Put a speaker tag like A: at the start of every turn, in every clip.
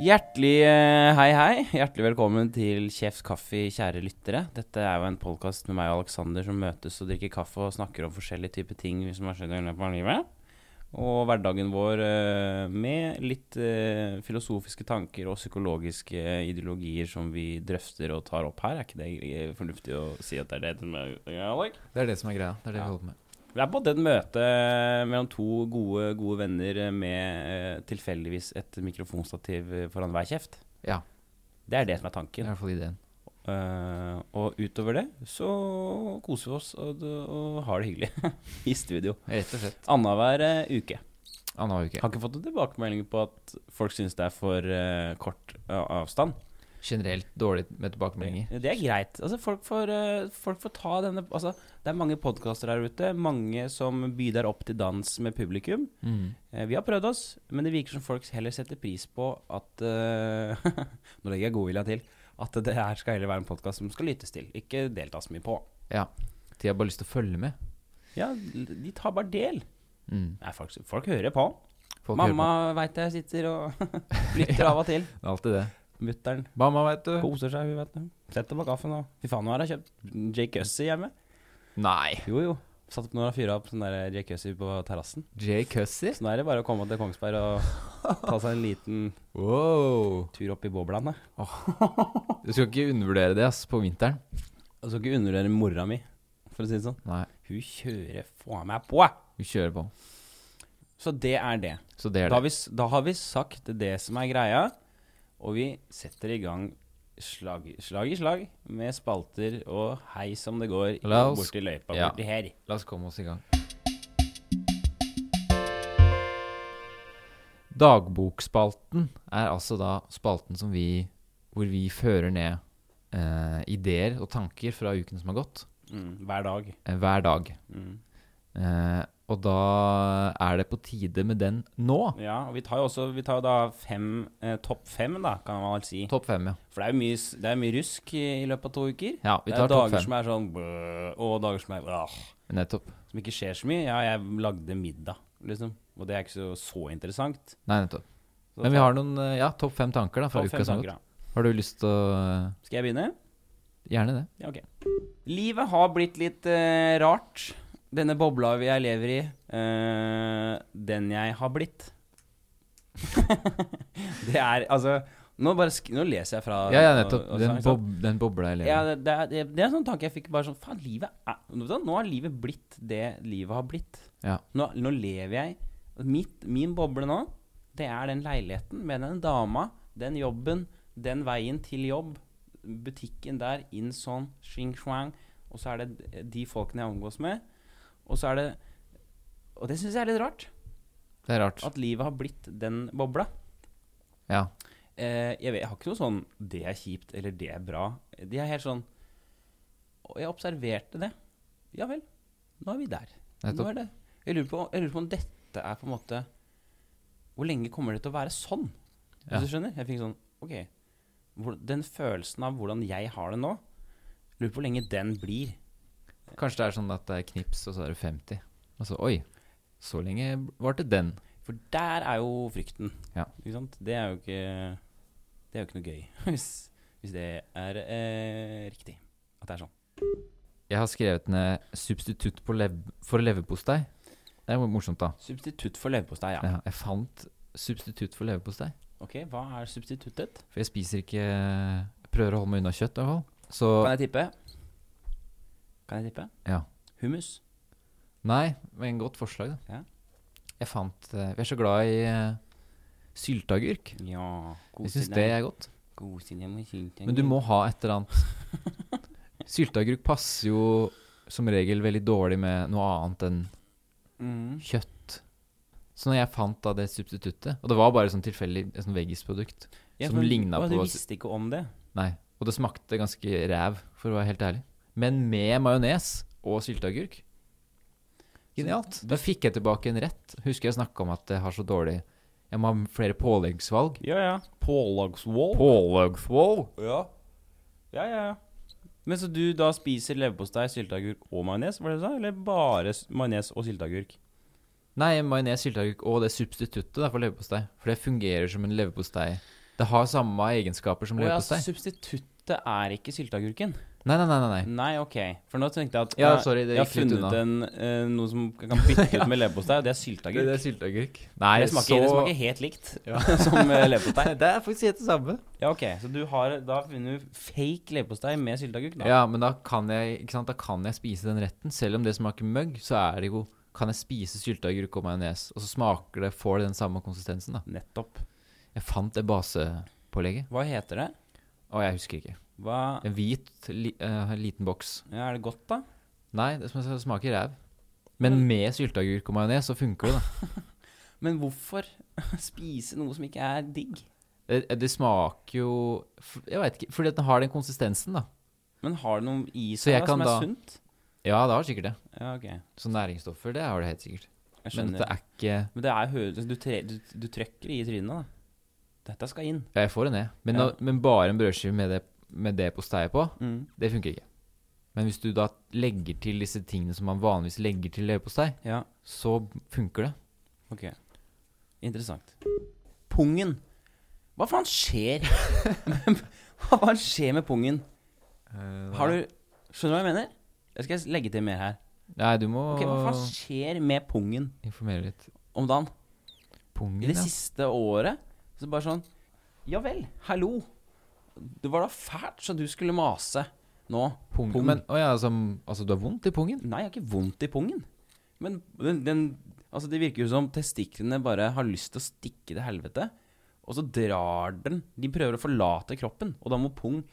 A: Hjertelig eh, hei, hei. Hjertelig velkommen til Kjefs kaffe, kjære lyttere. Dette er jo en podkast med meg og Aleksander som møtes og drikker kaffe og snakker om forskjellige typer ting som har skjedd i løpet av livet. Og hverdagen vår eh, med litt eh, filosofiske tanker og psykologiske eh, ideologier som vi drøfter og tar opp her. Er ikke det eh, fornuftig å si at det er det som er greia, Alek?
B: Det er det som er greia. Det er det
A: Ja.
B: vi holder på med.
A: Det er på en måte et møte eh, mellom to gode, gode venner med eh, tilfeldigvis et mikrofonstativ foran hver kjeft.
B: Ja,
A: Det er det som er
B: det er i
A: tanken.
B: hvert fall ideen.
A: Eh, og utover det så koser vi oss og, og har det hyggelig i studio.
B: Rett og slett.
A: Annenhver eh, uke.
B: Anna uke.
A: Har ikke fått noen tilbakemeldinger på at folk syns det er for eh, kort eh, avstand.
B: Generelt dårlig med tilbakemeldinger.
A: Det er greit. Altså, folk, får, eh, folk får ta denne altså, Det er mange podkaster der ute. Mange som bidrar opp til dans med publikum.
B: Mm.
A: Eh, Vi har prøvd oss, men det virker som folk heller setter pris på at eh, Nå legger jeg godvilja til. At det her skal heller være en podkast som skal lyttes til, ikke deltas mye på.
B: Ja. De har bare lyst til å følge med.
A: Ja, de tar bare del.
B: Mm.
A: Nei, folk, folk hører på.
B: Folk
A: Mamma
B: hører
A: veit jeg sitter og lytter
B: Ja.
A: av og til.
B: på. Det er alltid det.
A: Mutter'n
B: Mamma, veit du.
A: koser seg, hun vet det. Setter på kaffen og Fy faen, nå har jeg kjøpt Jake Hussey hjemme.
B: Nei.
A: Jo, jo. Satt opp når og fyra opp sånn der Jake Hussey på terrassen.
B: Jay Cussy.
A: Så nå er det bare å komme til Kongsberg og ta seg en liten
B: Wow.
A: tur opp i boblene.
B: Du skal ikke undervurdere det, ass, på vinteren.
A: Og skal ikke undervurdere mora mi, for å si det sånn.
B: Nei.
A: Hun kjører faen meg på!
B: Vi kjører på.
A: Så det er det.
B: Så det er
A: Da har,
B: det.
A: vi, s- da har vi sagt det som er greia, og vi setter i gang slag, slag i slag med spalter og hei som det går
B: La oss-
A: borti løypa
B: ja.
A: borti her.
B: La oss komme oss i gang. Dagbokspalten er altså da spalten som vi Hvor vi fører ned eh, ideer og tanker fra uken som har gått,
A: Mm, hver dag.
B: eh, hver dag.
A: Mm.
B: Eh, og da er det på tide med den nå.
A: Ja, og vi tar jo også vi tar jo da fem, eh, topp fem, da, kan man vel si.
B: Topp fem, ja.
A: For det er jo mye, s- det er mye rusk i, i løpet av to uker.
B: ja vi
A: Det
B: tar
A: er dager
B: topp fem.
A: som er sånn bøh, og dager som er åh.
B: Nettopp.
A: som ikke skjer så mye. Ja, jeg lagde middag, liksom. Og det er ikke så, så interessant.
B: Nei, nettopp.
A: Så ta-
B: Men vi har noen eh, ja, topp fem tanker
A: ta
B: da fra
A: fem
B: uka som har
A: tanker,
B: gått.
A: da.
B: Har du lyst til å eh,
A: Skal jeg begynne?
B: Gjerne det.
A: Ja, ok. Livet har blitt litt eh, rart. Denne bobla vi- jeg lever i. eh, den jeg har blitt. det er altså Nå, bare sk nå leser jeg fra
B: Ja, ja, nettopp.
A: og- og
B: Den,
A: sånn,
B: bob, den bobla jeg lever i.
A: Ja, det, det, er- det, det er en sånn tanke jeg fikk bare sånn Faen, livet er vet du hva, Nå har livet blitt det livet har blitt.
B: Ja.
A: Nå, nå lever jeg mitt, Min boble nå, det er den leiligheten med den dama, den jobben, den veien til jobb, butikken der, inn sånn, swing swang, og så er det de folkene jeg omgås med, og så er det Og det syns jeg er litt rart.
B: Det er rart.
A: At livet har blitt den bobla.
B: Ja.
A: Eh, jeg, vet, jeg har ikke noe sånn 'det er kjipt' eller 'det er bra'. De er helt sånn Og jeg observerte det. Ja vel, nå er vi der. Nå
B: Nettopp.
A: er det. Jeg, lurer på, jeg lurer på om dette er på en måte Hvor lenge kommer det til å være sånn? Hvis
B: Ja.
A: du skjønner? Jeg fikk sånn Ok. Hvor, den følelsen av hvordan jeg har det nå, lurer på hvor lenge den blir.
B: Kanskje det er sånn at det er knips, og så er det 50. Og så oi, så lenge varte den.
A: For der er jo frykten.
B: Ja.
A: Ikke sant? Det er jo ikke Det er jo ikke noe gøy hvis, hvis det er eh, riktig. At det er sånn.
B: Jeg har skrevet ned 'substitutt på lev for leverpostei'. Det er jo morsomt, da.
A: Substitutt for leverpostei, ja.
B: Ja, jeg fant substitutt for leverpostei.
A: Ok, hva er substituttet?
B: For jeg spiser ikke jeg Prøver å holde meg unna kjøtt, i hvert fall. Så
A: Kan jeg tippe? Kan jeg tippe?
B: Ja.
A: Hummus.
B: Nei, men godt forslag, da.
A: Ja.
B: Jeg fant eh, Vi er så glad i eh, sylteagurk.
A: Ja.
B: Jeg syns det er godt.
A: Godsinne med syltetøy.
B: Men du må ha et eller annet. Sylteagurk passer jo som regel veldig dårlig med noe annet enn
A: mm.
B: kjøtt. Så når jeg fant da det substituttet, og det var bare sånn tilfeldig et sånn veggisprodukt Som
A: for-
B: lignet
A: Å,
B: på-
A: Du visste ikke om det?
B: Nei, og det smakte ganske ræv, for å være helt ærlig. Men med majones og sylteagurk Genialt. Da fikk jeg tilbake en rett. Husker jeg snakka om at jeg har så dårlig Jeg må ha flere påleggsvalg.
A: Ja, ja. Pålagswall?
B: Påleggsvalg?
A: ja. Ja, ja, ja. Men så du da spiser leverpostei, sylteagurk og majones, var det du sa? Eller bare s- majones og sylteagurk?
B: Nei, majones, sylteagurk og det substituttet da, for leverpostei. For det fungerer som en leverpostei. Det har samme egenskaper som
A: Å ja,
B: leverpostei.
A: substituttet er ikke sylteagurken.
B: Nei, nei, nei, nei. nei.
A: Nei, ok. For nå tenkte jeg at
B: Ja,
A: eh,
B: sorry, det
A: jeg har
B: gikk litt
A: funnet
B: unna.
A: en, eh, noe som jeg kan bytte ut med leverpostei, og det er sylteagurk. Det,
B: sylteagurk. Nei,
A: smaker, det smaker helt likt som eh, leverpostei.
B: Det er faktisk helt det samme.
A: Ja, ok. Så du har da funnet fake leverpostei med sylteagurk? da?
B: Ja, men da kan, jeg, ikke sant? da kan jeg spise den retten. Selv om det smaker møgg, så er det jo kan jeg spise sylteagurk og majones, og så smaker det, får det den samme konsistensen. da.
A: Nettopp.
B: Jeg fant det basepålegget,
A: Hva heter det?
B: og jeg husker ikke.
A: Hva
B: En hvit, li, eh, liten boks.
A: ja, Er det godt, da?
B: Nei, det sm- smaker ræv. Men
A: Mm.
B: med sylteagurk og majones så funker det, da.
A: Men hvorfor spise noe som ikke er digg?
B: Det, det smaker jo f- Jeg veit ikke, fordi at den har den konsistensen, da.
A: Men har det noe i
B: Så
A: seg
B: jeg
A: da, som
B: kan
A: er
B: da-
A: sunt?
B: Ja, det har sikkert det.
A: Ja, ok.
B: Så næringsstoffer, det har det helt sikkert.
A: Jeg
B: Men
A: skjønner.
B: det er ikke
A: Men det er høres du, tre, du, du trøkker i trynet, da. Dette skal inn.
B: Ja, jeg får det ned. Men,
A: Ja.
B: da, men bare en brødskive med det, med det posteie på,
A: Mm.
B: det funker ikke. Men hvis du da legger til disse tingene som man vanligvis legger til leverpostei,
A: Ja,
B: så funker det.
A: ok. Interessant. Pungen. Hva faen skjer? hva faen skjer med pungen?
B: Eh,
A: Har du Skjønner du hva jeg mener? Jeg skal legge til mer her.
B: Nei, du må
A: Ok, Hva faen skjer med pungen
B: informere litt.
A: om dagen?
B: Pungen,
A: I det
B: ja.
A: siste året Så bare sånn Ja vel, hallo Det var da fælt så du skulle mase Nå
B: Pung.
A: pung.
B: Men, å ja, altså, altså, du har vondt i pungen?
A: Nei, jeg har ikke vondt i pungen Men den, den Altså det virker jo som testiklene bare har lyst til å stikke til helvete Og så drar den De prøver å forlate kroppen Og da må pung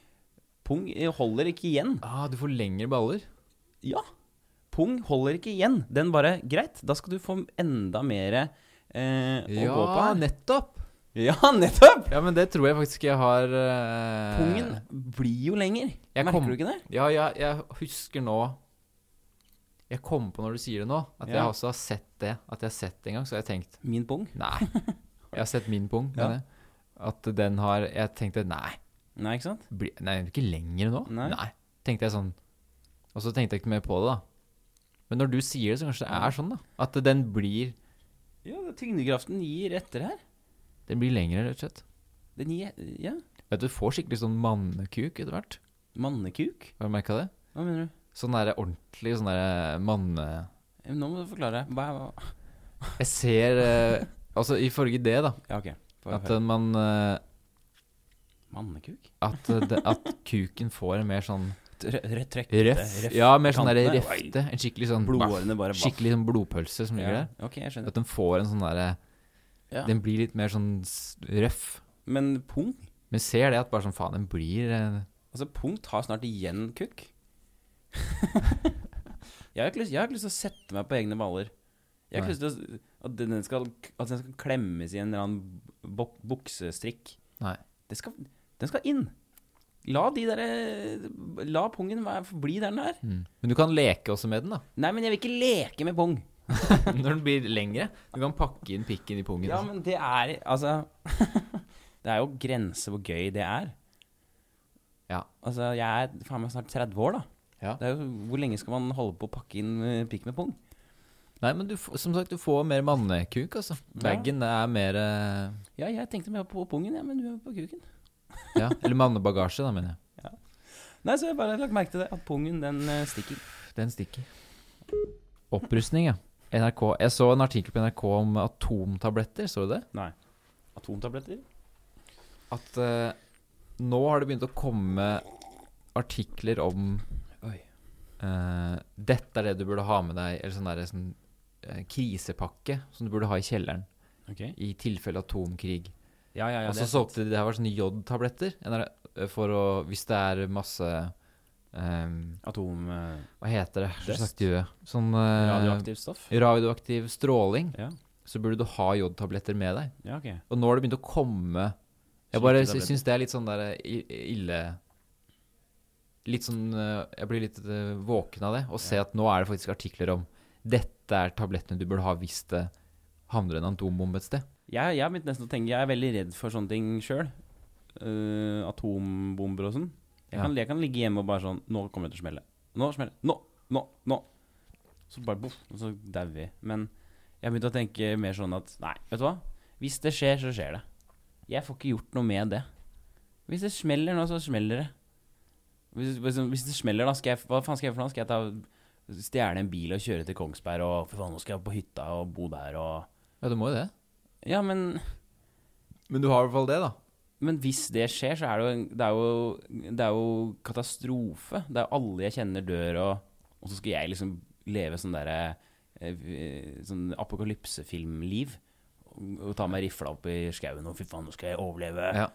A: Pung eh, holder ikke igjen
B: Ah, du får lengre baller.
A: Ja. Pung holder ikke igjen. Den bare Greit, da skal du få enda mer eh, å gå på.
B: Ja,
A: her.
B: nettopp!
A: ja, nettopp!
B: Ja, men det tror jeg faktisk jeg har eh,
A: Pungen blir jo lenger.
B: Jeg
A: Merker
B: kom-
A: du ikke det?
B: Ja, ja, jeg husker nå Jeg kom på når du sier det nå, at jeg
A: Ja.
B: også har sett det. At jeg har sett det en gang, så har jeg tenkt
A: Min pung?
B: Nei. Jeg har sett min pung.
A: Ja.
B: mener jeg. At den har Jeg tenkte nei,
A: Nei, ikke sant?
B: bli, nei ikke lenger nå?
A: Nei.
B: Tenkte jeg sånn. Og så tenkte jeg ikke mer på det, da. Men når du sier det, så kanskje det er sånn, da. At den blir
A: Ja, det- tyngdekraften gir etter her.
B: Den blir lengre, rett og slett.
A: Den gir Ja.
B: Vet du, du får skikkelig sånn mannekuk etter hvert.
A: Mannekuk?
B: Har du merka det?
A: Hva mener du?
B: Sånn derre ordentlig sånn derre manne...
A: Eh, Nå må du forklare. Hva hva-
B: Jeg ser eh, Altså, ifølge det, da,
A: Ja, OK. Få
B: at
A: høre.
B: eh, man eh,
A: Mannekuk?
B: at, eh, det, at kuken får en mer sånn
A: Rødt rødt trøkk?
B: røff
A: Røff
B: Ja, mer sånn derre
A: kantene.
B: refte. En skikkelig sånn
A: Blodårene bare vaff.
B: skikkelig sånn blodpølse som ligger
A: Ja.
B: der.
A: OK, jeg skjønner.
B: At den får en sånn derre
A: Ja.
B: Den blir litt mer sånn s- røff.
A: Men pung?
B: Men ser det at bare sånn faen, den blir eh,
A: Altså, punkt har snart igjen kukk. jeg har ikke lyst jeg har ikke lyst til å sette meg på egne baller. Jeg har ikke
B: Nei.
A: lyst til å, at, den skal, at den skal klemmes i en eller annen bok, buksestrikk.
B: Nei.
A: Det skal, den skal inn. La de der, La pungen være- bli der den er.
B: mm. Men du kan leke også med den, da.
A: Nei, men jeg vil ikke leke med pung.
B: Når den blir lengre. Du kan pakke inn pikken i pungen.
A: Ja,
B: og sånn.
A: men det er Altså Det er jo grenser hvor gøy det er.
B: Ja.
A: Altså, jeg er faen meg snart 30 år, da.
B: Ja.
A: Det er jo, hvor lenge skal man holde på å pakke inn eh, pikk med pung?
B: Nei, men du, f- som sagt, du får mer mannekuk, altså. Bagen er mer eh,
A: Ja, jeg tenkte mer på pungen, ja, men du er på kuken.
B: Ja, eller mannebagasje, da, mener jeg.
A: Nei, så jeg bare lagt merke til det, at pungen den eh, stikker.
B: Den stikker. Opprustning, ja. NRK. Jeg så en artikkel på NRK om atomtabletter, så du det?
A: Nei. Atomtabletter?
B: At eh, nå har det begynt å komme artikler om
A: Oi.
B: eh, Dette er det du burde ha med deg, eller sånn der sånn, eh, krisepakke som du burde ha i kjelleren
A: Ok.
B: i tilfelle atomkrig.
A: Ja, ja, ja.
B: Og så solgte de det her var sånne jodtabletter en der- eh, for å Hvis det er masse eh,
A: Atom... eh,
B: Hva heter det? Hva slags
A: Døst.
B: død? Sånn eh,
A: radioaktivt stoff?
B: radioaktiv stråling.
A: Ja.
B: så burde du ha jodtabletter med deg.
A: Ja, ok.
B: Og nå har det begynt å komme Jeg
A: Syke
B: bare
A: tabletter.
B: syns det er litt sånn der eh, i- ille Litt sånn eh, Jeg blir litt eh, våken av det. Og se at nå er det faktisk artikler om dette er tablettene du burde ha hvis det havner en atombombe et sted.
A: Jeg, jeg har begynt nesten å tenke, jeg er veldig redd for sånne ting sjøl. atombomber og sånn. Jeg,
B: Ja.
A: kan, jeg kan ligge hjemme og bare sånn Nå kommer det til å smelle. Nå smeller det. Nå! Nå! Nå! Så bare boff, og så dauer vi. Men jeg har begynt å tenke mer sånn at nei, vet du hva? Hvis det skjer, så skjer det. Jeg får ikke gjort noe med det. Hvis det smeller nå, så smeller det. Hvis, hvis, hvis det smeller, da, skal jeg, hva faen skal jeg for noe? Skal jeg ta stjele en bil og kjøre til Kongsberg og For faen, nå skal jeg på hytta og bo der og
B: Ja, du må jo det.
A: Ja, men
B: Men du har i hvert fall det, da.
A: Men hvis det skjer, så er det jo, en- det er jo, det er jo katastrofe. Det er alle jeg kjenner dør, og, og så skal jeg liksom leve sånn derre eh, v- Sånn apokalypsefilmliv. Og, og ta meg rifla opp i skauen og fy faen, nå skal jeg overleve.
B: Ja.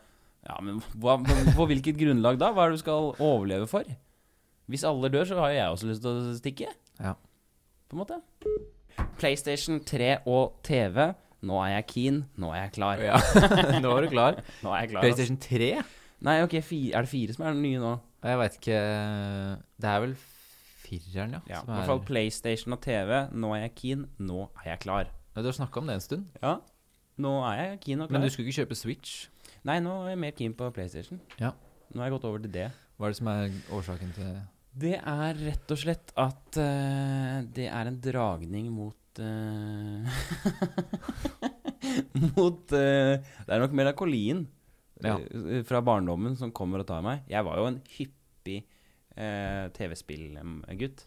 A: Ja, men hva, på, på hvilket grunnlag da? Hva er det du skal overleve for? Hvis alle dør, så har jo jeg også lyst til å stikke.
B: Ja.
A: På en måte. PlayStation 3 og TV. Nå er jeg keen. Nå er jeg klar.
B: Ja. nå er du klar.
A: Nå er jeg klar. ass.
B: PlayStation 3?
A: Nei, ok, fi, er det fire som er den nye nå?
B: Jeg veit ikke Det er vel fireren, ja.
A: Ja,
B: som
A: I hvert
B: er-
A: fall PlayStation og TV. Nå er jeg keen, nå er jeg klar.
B: Ja, Du har snakka om det en stund,
A: Ja, nå er jeg keen og
B: men
A: klar.
B: du skulle ikke kjøpe Switch.
A: Nei, nå er jeg mer keen på PlayStation.
B: Ja.
A: Nå har jeg gått over til det.
B: Hva er det som er årsaken til
A: Det er rett og slett at eh, det er en dragning mot eh, Mot eh, Det er nok melankolien
B: Ja.
A: eh, fra barndommen som kommer og tar meg. Jeg var jo en hyppig eh, TV-spillgutt.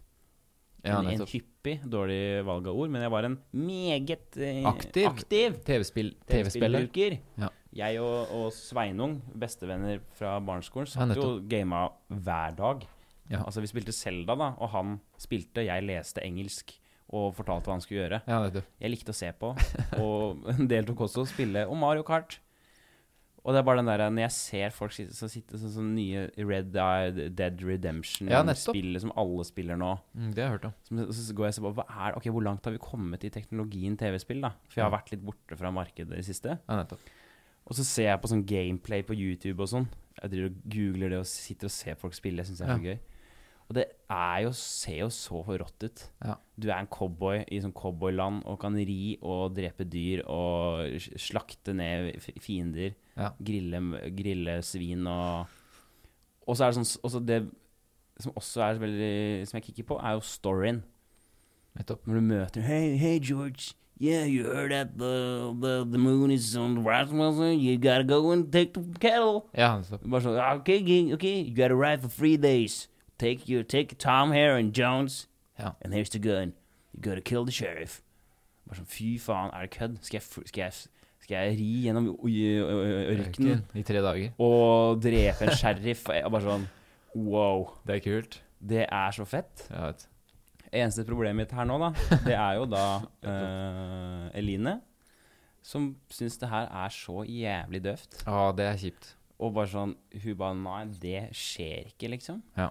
B: Ja,
A: en, en
B: nettopp.
A: hyppig, dårlig valg av ord, men jeg var en meget eh,
B: Aktiv.
A: aktiv
B: TV-spill TV-spiller.
A: TV-spillbruker.
B: Ja.
A: Jeg og, og Sveinung, bestevenner fra barneskolen,
B: Ja,
A: satt jo
B: nettopp.
A: og gama hver dag.
B: Ja.
A: Altså, vi spilte Selda, da, og han spilte, jeg leste engelsk og fortalte hva han skulle gjøre.
B: Ja, nettopp.
A: Jeg likte å se på, og deltok også å spille, og Mario Kart. Og det er bare den der, når jeg ser folk sitte, så sitte sånn, sånn nye Red Eye Dead
B: Ja, nettopp.
A: Redemption-spillet som alle spiller nå.
B: Mm, det har jeg hørt om.
A: Så, så går jeg og ser på hva er, ok, hvor langt har vi kommet i teknologien TV-spill. da? For jeg har vært litt borte fra markedet i det siste.
B: Ja, nettopp.
A: Og så ser jeg på sånn gameplay på YouTube og sånn. Jeg driver og googler det og sitter og ser folk spille. Jeg syns det er så gøy. Og det er jo, ser jo så rått ut.
B: Ja.
A: Du er en cowboy i sånn cowboyland og kan ri og drepe dyr og sl- slakte ned f- fiender.
B: Ja.
A: Grille, grille svin og Og så er det sånn s- også Det som også er veldig Som jeg kikker på, er jo storyen.
B: nettopp.
A: Når du møter Hey, hey, George. Yeah, you heard that the, the, the moon is on the rise, Wilson. You gotta go and take the cattle.
B: Ja, nettopp.
A: Bare sånn, «Ah, okay, okay, okay, you gotta ride for three days. Take your, take Tom here and Jones.
B: Ja.
A: And here's the gun. You gotta kill the sheriff. Bare sånn, fy faen, er det kødd? Skal jeg, fr- skal jeg, skal jeg ri gjennom ø- ø- ø- ørkenen
B: I tre dager.
A: og drepe en sheriff? Og bare sånn, wow,
B: Det er kult.
A: det er så fett.
B: Jeg vet.
A: Eneste problemet mitt her nå, da, det er jo da eh, Eline, som syns det her er så jævlig døvt.
B: Ja, det er kjipt.
A: Og bare sånn Hun bare Nei, det skjer ikke, liksom.
B: Ja.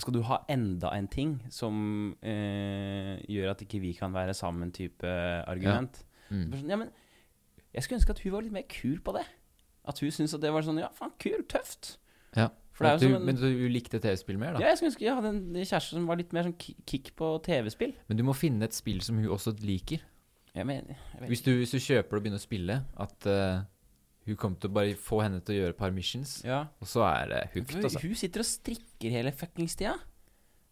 A: Skal du ha enda en ting som eh, gjør at ikke vi kan være sammen, type argument?
B: Mm.
A: Bare Sånn, ja, men jeg skulle ønske at hun var litt mer kul på det. At hun syntes at det var sånn Ja, faen, kult, tøft.
B: Ja.
A: For det er jo
B: du,
A: som en-
B: Men du likte TV-spill mer, da?
A: Ja, jeg skulle ønske jeg hadde en kjæreste som var litt mer sånn ki- kick på TV-spill.
B: Men du må finne et spill som hun også liker.
A: Jeg mener, jeg vet
B: Hvis du, hvis du kjøper og begynner å spille, at eh, hun kommer til å bare få henne til å gjøre et par missions,
A: ikke. Ja.
B: og så er det hooked,
A: Hun-
B: altså.
A: Hun sitter og strikker hele fuckings tida.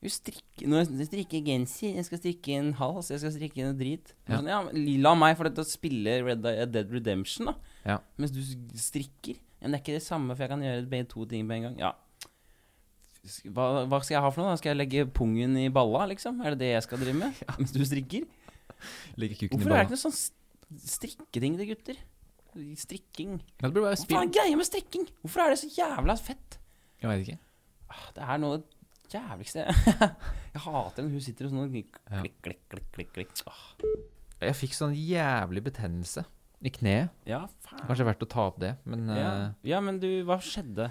A: Hun strikker Når jeg strikker genser, jeg skal strikke en hals, jeg skal strikke en drit.
B: Ja.
A: Sånn, ja, men la meg få deg til å spille Red Dead- eh, Dead Redemption, da.
B: Ja.
A: Mens du strikker. Ja, Men det er ikke det samme, for jeg kan gjøre begge to ting på en gang. Ja. Hva, hva skal jeg ha for noe? da? Skal jeg legge pungen i balla, liksom? Er det det jeg skal drive med? Mens du strikker?
B: Ligger kuken i
A: Hvorfor er det
B: ballen.
A: ikke noe sånn s- strikketing til gutter? Strikking.
B: Ja, det burde være
A: Hva
B: spill.
A: faen er greia med strikking? Hvorfor er det så jævla fett?
B: Jeg vet ikke.
A: Ah, Det er noe av det jævligste Jeg hater når hun sitter og sånn klikk,
B: Ja.
A: klikk, klikk, klikk, klikk, klikk. Ah,
B: Jeg fikk sånn jævlig betennelse i kneet.
A: Ja, faen
B: Kanskje verdt å ta opp det, men eh,
A: ja. ja, men du, hva skjedde?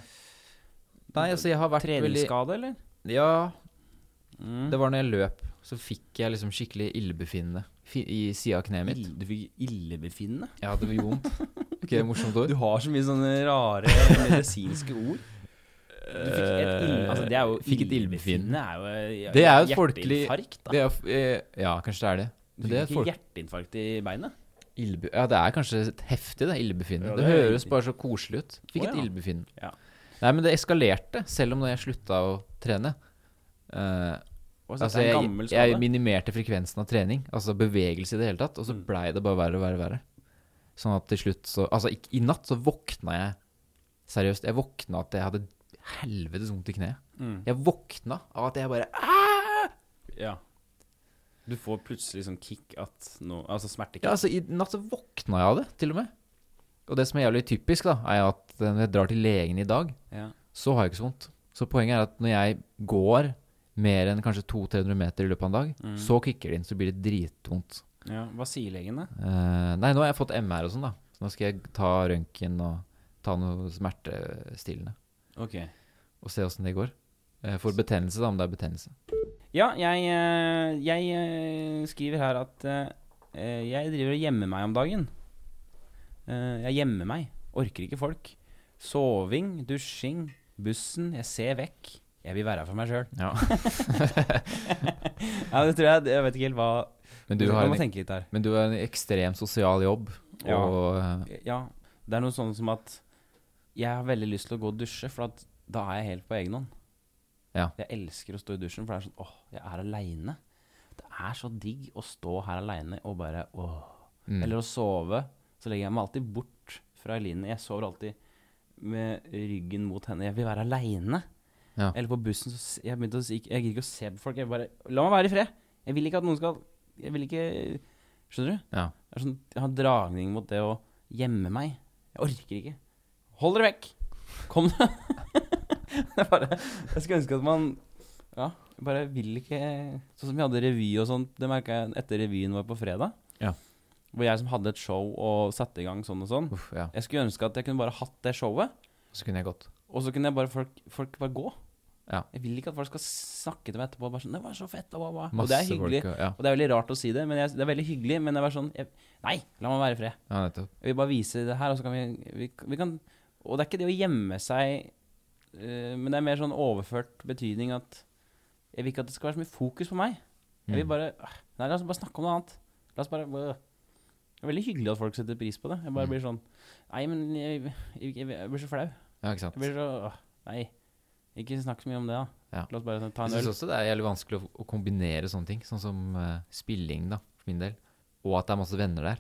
B: Nei, altså, jeg har vært veldig
A: Treningsskade, eller?
B: Ja,
A: Mm.
B: det var når jeg løp, så fikk jeg liksom skikkelig illebefinnende fi- i sida av kneet mitt.
A: Ill- Du fikk illebefinnende?
B: Ja, det gjorde vondt. Ikke det morsomt ord?
A: Du har så mye sånne rare medisinske ord. Du fikk et ille, altså det er jo
B: Fikk et illebefinnende.
A: er jo,
B: Det er jo et folkelig-
A: Hjerteinfarkt, da.
B: Det er, eh, ja, kanskje det er det.
A: Du
B: det er
A: fikk
B: folk-
A: ikke hjerteinfarkt i beinet?
B: Illebe ja, det er kanskje et heftig, det. Illebefinnende.
A: Ja, det
B: det,
A: er
B: høres
A: riktig.
B: bare så koselig ut.
A: Å,
B: Fikk et
A: ja.
B: illebefinnende.
A: Ja.
B: Nei, men det eskalerte, selv om når jeg slutta å trene. Eh,
A: Og så
B: altså,
A: det er en
B: jeg,
A: gammel skade. Mm.
B: jeg minimerte frekvensen av trening, altså bevegelse i det hele tatt, og så blei det bare verre og verre og verre. Sånn at til slutt så Altså, ikk- i natt så våkna jeg Seriøst, jeg våkna at jeg hadde helvetes vondt i kneet.
C: Mm.
B: Jeg våkna av at jeg bare "Ah!"
C: Ja. Du får plutselig sånn kick at nå Altså smertekick.
B: Ja, altså, i natt så våkna jeg av det, til og med. Og det som er jævlig typisk, da, er jo at eh, når jeg drar til legen i dag,
C: Ja.
B: så har jeg ikke så vondt. Så poenget er at når jeg går mer enn kanskje 200-300 meter i løpet av en dag,
C: Mm.
B: så kicker det inn, så blir det dritvondt.
C: Ja, Hva sier legen, da?
B: Eh, nei, nå har jeg fått MR og sånn, da. Så nå skal jeg ta røntgen og ta noe smertestillende.
C: Ok.
B: Og se åssen det går. Eh, for betennelse, da, om det er betennelse.
A: Ja, jeg, eh, jeg eh, skriver her at eh, eh, jeg driver og gjemmer meg om dagen. Eh, Jeg gjemmer meg. Orker ikke folk. Soving, dusjing, bussen. Jeg ser vekk. Jeg vil være her for meg sjøl.
B: Ja.
A: Ja, det tror jeg Jeg vet ikke helt hva
B: Men, du
A: Man
B: har
A: må
B: en,
A: tenke litt der.
B: men du har en ekstrem sosial jobb,
A: Ja.
B: og eh,
A: Ja, det er noe sånn som at jeg har veldig lyst til å gå og dusje, for at da er jeg helt på egen hånd.
B: Ja.
A: Jeg elsker å stå i dusjen, for det er sånn åh, jeg er aleine. Det er så digg å stå her aleine og bare åh.
B: mm.
A: Eller å sove. Så legger jeg meg alltid bort fra Eline. Jeg sover alltid med ryggen mot henne. Jeg vil være aleine.
B: Ja.
A: Eller på bussen. Så s- jeg, begynte å, si- jeg gidder ikke å se på folk. Jeg bare La meg være i fred! Jeg vil ikke at noen skal Jeg vil ikke Skjønner du?
B: Ja.
A: Jeg, er sånn, jeg har en dragning mot det å gjemme meg. Jeg orker ikke. Hold dere vekk! Kom deg! Det er bare Jeg skulle ønske at man Ja, jeg bare vil ikke Sånn som vi hadde revy og sånt, det merka jeg etter revyen var på fredag.
B: Ja.
A: Hvor jeg som hadde et show og satte i gang sånn og sånn.
B: Uff, ja.
A: Jeg skulle ønske at jeg kunne bare hatt det showet,
B: Så kunne jeg gått.
A: og så kunne jeg bare folk, folk bare gå.
B: Ja.
A: Jeg vil ikke at folk skal snakke til meg etterpå. Bare sånn, det var så fett, og, og, og
B: Masse
A: det er hyggelig.
B: folk. og- Ja.
A: Og det er veldig rart å si det, men jeg, det er veldig hyggelig. Men det var sånn jeg, Nei, la meg være i fred.
B: ja, nettopp.
A: Jeg vil bare vise det her, og så kan vi, vi, vi kan, Og det er ikke det å gjemme seg, eh, men det er mer sånn overført betydning at Jeg vil ikke at det skal være så mye fokus på meg. Jeg vil
B: Mm.
A: bare øh, Nei, la oss bare snakke om noe annet. La oss bare øh. Det er veldig hyggelig at folk setter pris på det. Jeg bare
B: Mm.
A: blir sånn Nei, men jeg, jeg, jeg, jeg blir så flau.
B: Ja, ikke sant.
A: Jeg blir så øh, Nei, ikke snakk så mye om det, da.
B: Ja.
A: La oss bare ta
B: Jeg
A: en
B: syns
A: øl.
B: også det er jævlig vanskelig å, å kombinere sånne ting, sånn som eh, spilling, da, for min del, og at det er masse venner der.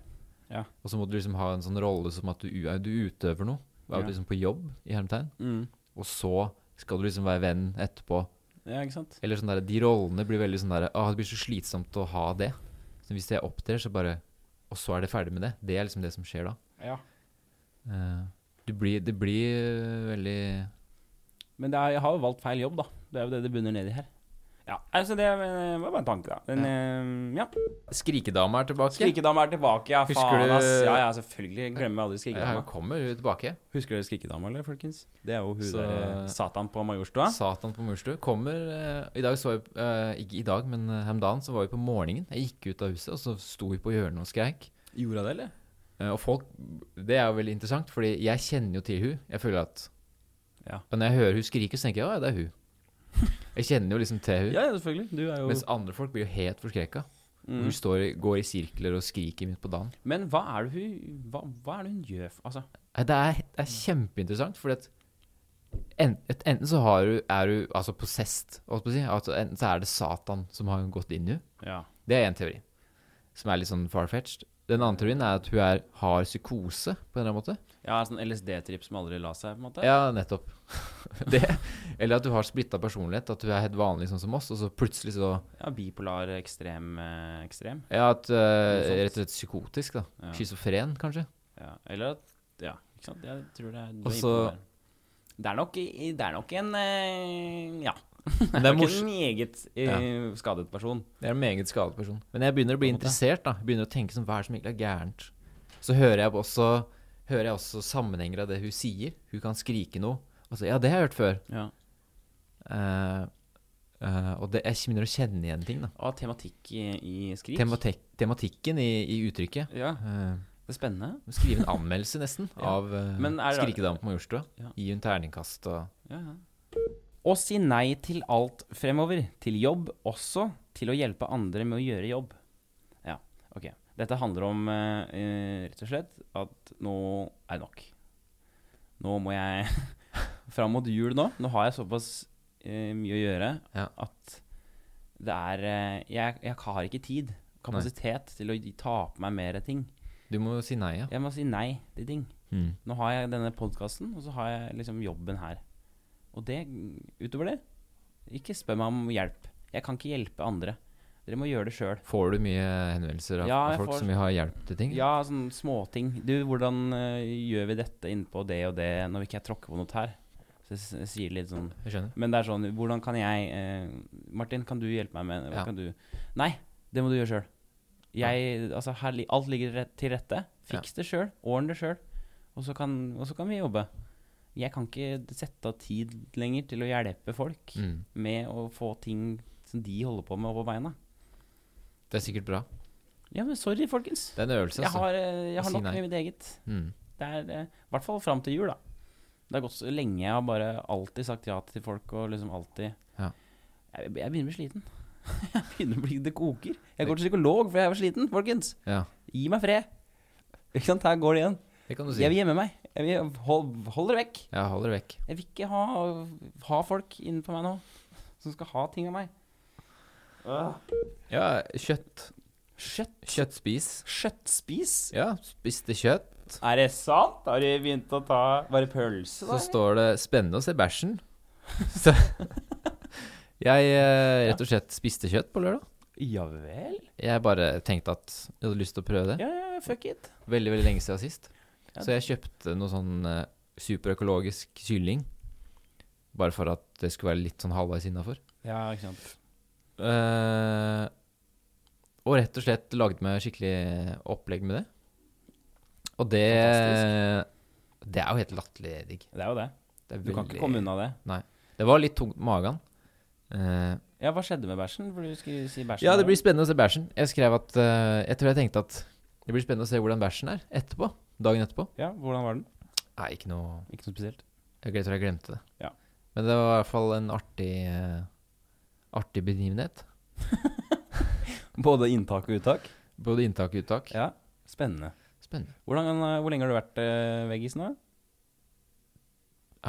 A: Ja.
B: Og så må du liksom ha en sånn rolle som at du, u- du utøver noe. Du er sånn.
A: Ja.
B: jo liksom på jobb, i hermetegn,
A: Mm.
B: og så skal du liksom være venn etterpå.
A: Ja, ikke sant?
B: Eller sånn der, De rollene blir veldig sånn der Å, det blir så slitsomt å ha det. Så hvis jeg opptrer, så bare Og så er det ferdig med det. Det er liksom det som skjer da.
A: Ja.
B: Eh, du blir, det blir eh, veldig
A: Men det er, jeg har jo valgt feil jobb, da. Det er jo det det bunner ned i her. Ja, altså det eh, var bare en tanke, da. Men eh, ja.
B: Skrikedama er tilbake.
A: Skrikedama er tilbake, ja.
B: Husker
A: faen,
B: du-
A: ass. Ja, ja, selvfølgelig. Glemmer aldri
B: Ja, hun
A: Skrikedama.
B: kommer jo tilbake.
A: Husker dere Skrikedama, eller, folkens? Det er jo hun
B: Så-
A: der eh, Satan på Majorstua.
B: Satan på Murstu kommer eh, I dag så jeg eh, Ikke i dag, men eh, her om dagen så var vi på morgenen. Jeg gikk ut av huset, og så sto vi på hjørnet og skreik.
A: Gjorde hun det, eller?
B: Eh, og folk Det er jo veldig interessant, fordi jeg kjenner jo til hun. Jeg føler at
A: Ja.
B: Og Når jeg hører hun skrike, så tenker jeg ja, det er hun. Jeg kjenner jo liksom til hun.
A: Ja, ja, selvfølgelig. Du er jo
B: Mens andre folk blir jo helt forskreka.
A: Mm.
B: Hun står, i- går i sirkler og skriker midt på dagen.
A: Men hva er det hun Hva, hva er det hun gjør for Altså,
B: Nei, Det er, det er kjempeinteressant, fordi at en, et, enten så har du, er du altså possessed, holdt på å si. Altså, enten så er det Satan som har gått inn i henne.
A: ja.
B: Det er én teori, som er litt sånn farfetched. Den andre teorien er at hun er, har psykose, på en eller annen måte.
A: Ja, sånn LSD-tripp som aldri la seg, på en måte?
B: Ja, nettopp. Det. Eller at du har splitta personlighet, at du er helt vanlig sånn som oss, og så plutselig så
A: Ja, bipolar, ekstrem, eh, ekstrem.
B: Ja, at, eh,
A: Noe
B: rett og slett psykotisk, da.
A: Ja.
B: Schizofren, kanskje.
A: Ja, eller at Ja, ikke sant. Jeg tror det er du er
B: Og
A: inne
B: så-
A: på det. Det er nok, i- det er nok en eh, Ja.
B: Men
A: Det
B: det
A: er
B: er
A: nok
B: morsomt.
A: en meget eh, skadet person.
B: Det er en meget skadet person. Men jeg begynner å bli
A: På en måte.
B: interessert. da Jeg Begynner å tenke som hva er det som egentlig er gærent. Så hører jeg også, hører jeg også sammenhenger av det hun sier. Hun kan skrike noe. Og så, ja, det har jeg hørt før.
A: Ja.
B: Eh, eh, og det, jeg begynner å kjenne igjen ting. da
A: Og tematikk i, i skrik.
B: Tematek, Tematikken i, i uttrykket.
A: ja,
B: Eh,
A: det er spennende.
B: skrive en anmeldelse, nesten,
A: Ja.
B: av uh,
A: Men er det-
B: Skrikedamen på Majorstua.
A: Ja.
B: Gi henne terningkast og
A: Ja, ja. Å si nei til alt fremover. Til jobb, også til å hjelpe andre med å gjøre jobb. Ja, ok. Dette handler om eh, eh, rett og slett at nå er det nok. Nå må jeg Fram mot jul nå. Nå har jeg såpass eh, mye å gjøre
B: Ja.
A: at det er eh, jeg, jeg har ikke tid, kapasitet, til å gi- ta på meg mer ting.
B: Du må jo si nei, ja.
A: Jeg må si nei til ting.
B: Mm.
A: Nå har jeg denne podkasten, og så har jeg liksom jobben her. Og det, utover det, ikke spør meg om hjelp. Jeg kan ikke hjelpe andre. Dere må gjøre det sjøl.
B: Får du mye henvendelser av,
A: Ja,
B: av
A: jeg
B: folk
A: får-
B: som vil ha hjelp til ting?
A: Ja, sånne småting. Du, hvordan eh, gjør vi dette innpå det og det, når ikke jeg tråkker på noe her? Så jeg s- jeg sier litt sånn
B: Jeg skjønner.
A: Men det er sånn, hvordan kan jeg eh, Martin, kan du hjelpe meg med Hva
B: Ja.
A: kan du Nei, det må du gjøre sjøl. Jeg Altså, her, li- alt ligger rett, til rette. Fiks det sjøl. Ordn det sjøl. Og, så kan- og så kan vi jobbe. Jeg kan ikke sette av tid lenger til å hjelpe folk
B: Mm.
A: med å få ting som de holder på med, over beina.
B: Det er sikkert bra.
A: Ja, men sorry, folkens.
B: Det er en øvelse,
A: Jeg
B: altså.
A: har, eh, jeg
B: Å
A: har
B: si
A: nok
B: nei.
A: med mitt eget.
B: Mm.
A: Det er eh, i hvert fall fram til jul, da. Det har gått så lenge jeg har bare alltid sagt ja til folk, og liksom alltid
B: Ja.
A: jeg, jeg begynner å bli sliten. jeg begynner å bli Det koker. Jeg går til psykolog fordi jeg var sliten, folkens.
B: Ja,
A: Gi meg fred. Ikke sant, her går det igjen.
B: det kan du si.
A: Jeg vil gjemme meg. Jeg vil hold, hold dere vekk.
B: Ja, hold dere vekk.
A: Jeg vil ikke ha, ha folk innenfor meg nå som skal ha ting av meg.
B: Ja, kjøtt.
A: Kjøtt.
B: Kjøttspis.
A: Kjøttspis?
B: Ja, spiste kjøtt.
A: Er det sant? Har de begynt å ta bare pølse?
B: Så står det 'spennende å se bæsjen'. Så jeg eh, rett og slett spiste kjøtt på lørdag.
A: Ja vel?
B: Jeg bare tenkte at jeg hadde lyst til å prøve det.
A: Ja, ja, fuck it.
B: Veldig veldig lenge siden sist.
A: Ja.
B: Så jeg kjøpte noe sånn eh, superøkologisk kylling. Bare for at det skulle være litt sånn halvveis innafor.
A: Ja, ikke sant.
B: Eh, og rett og slett lagde meg skikkelig opplegg med det. Og det Det er jo helt latterlig digg.
A: Det er jo det.
B: Det er
A: Du kan
B: veldig-
A: ikke komme unna det.
B: Det var litt tungt på magen. Eh,
A: Ja, hva skjedde med bæsjen? For du skulle si bæsjen.
B: ja, det
A: her.
B: blir spennende å se bæsjen. Jeg skrev at eh, Jeg tror jeg tenkte at det blir spennende å se hvordan bæsjen er etterpå. Dagen etterpå.
A: Ja, hvordan var den?
B: Nei, ikke noe
A: Ikke noe spesielt.
B: Jeg tror jeg glemte det.
A: Ja.
B: Men det var i hvert fall en artig eh, Artig begivenhet.
A: Både inntak og uttak?
B: Både inntak og uttak.
A: Ja. Spennende.
B: Spennende.
A: Hvordan, eh, hvor lenge har du vært eh, veggis nå?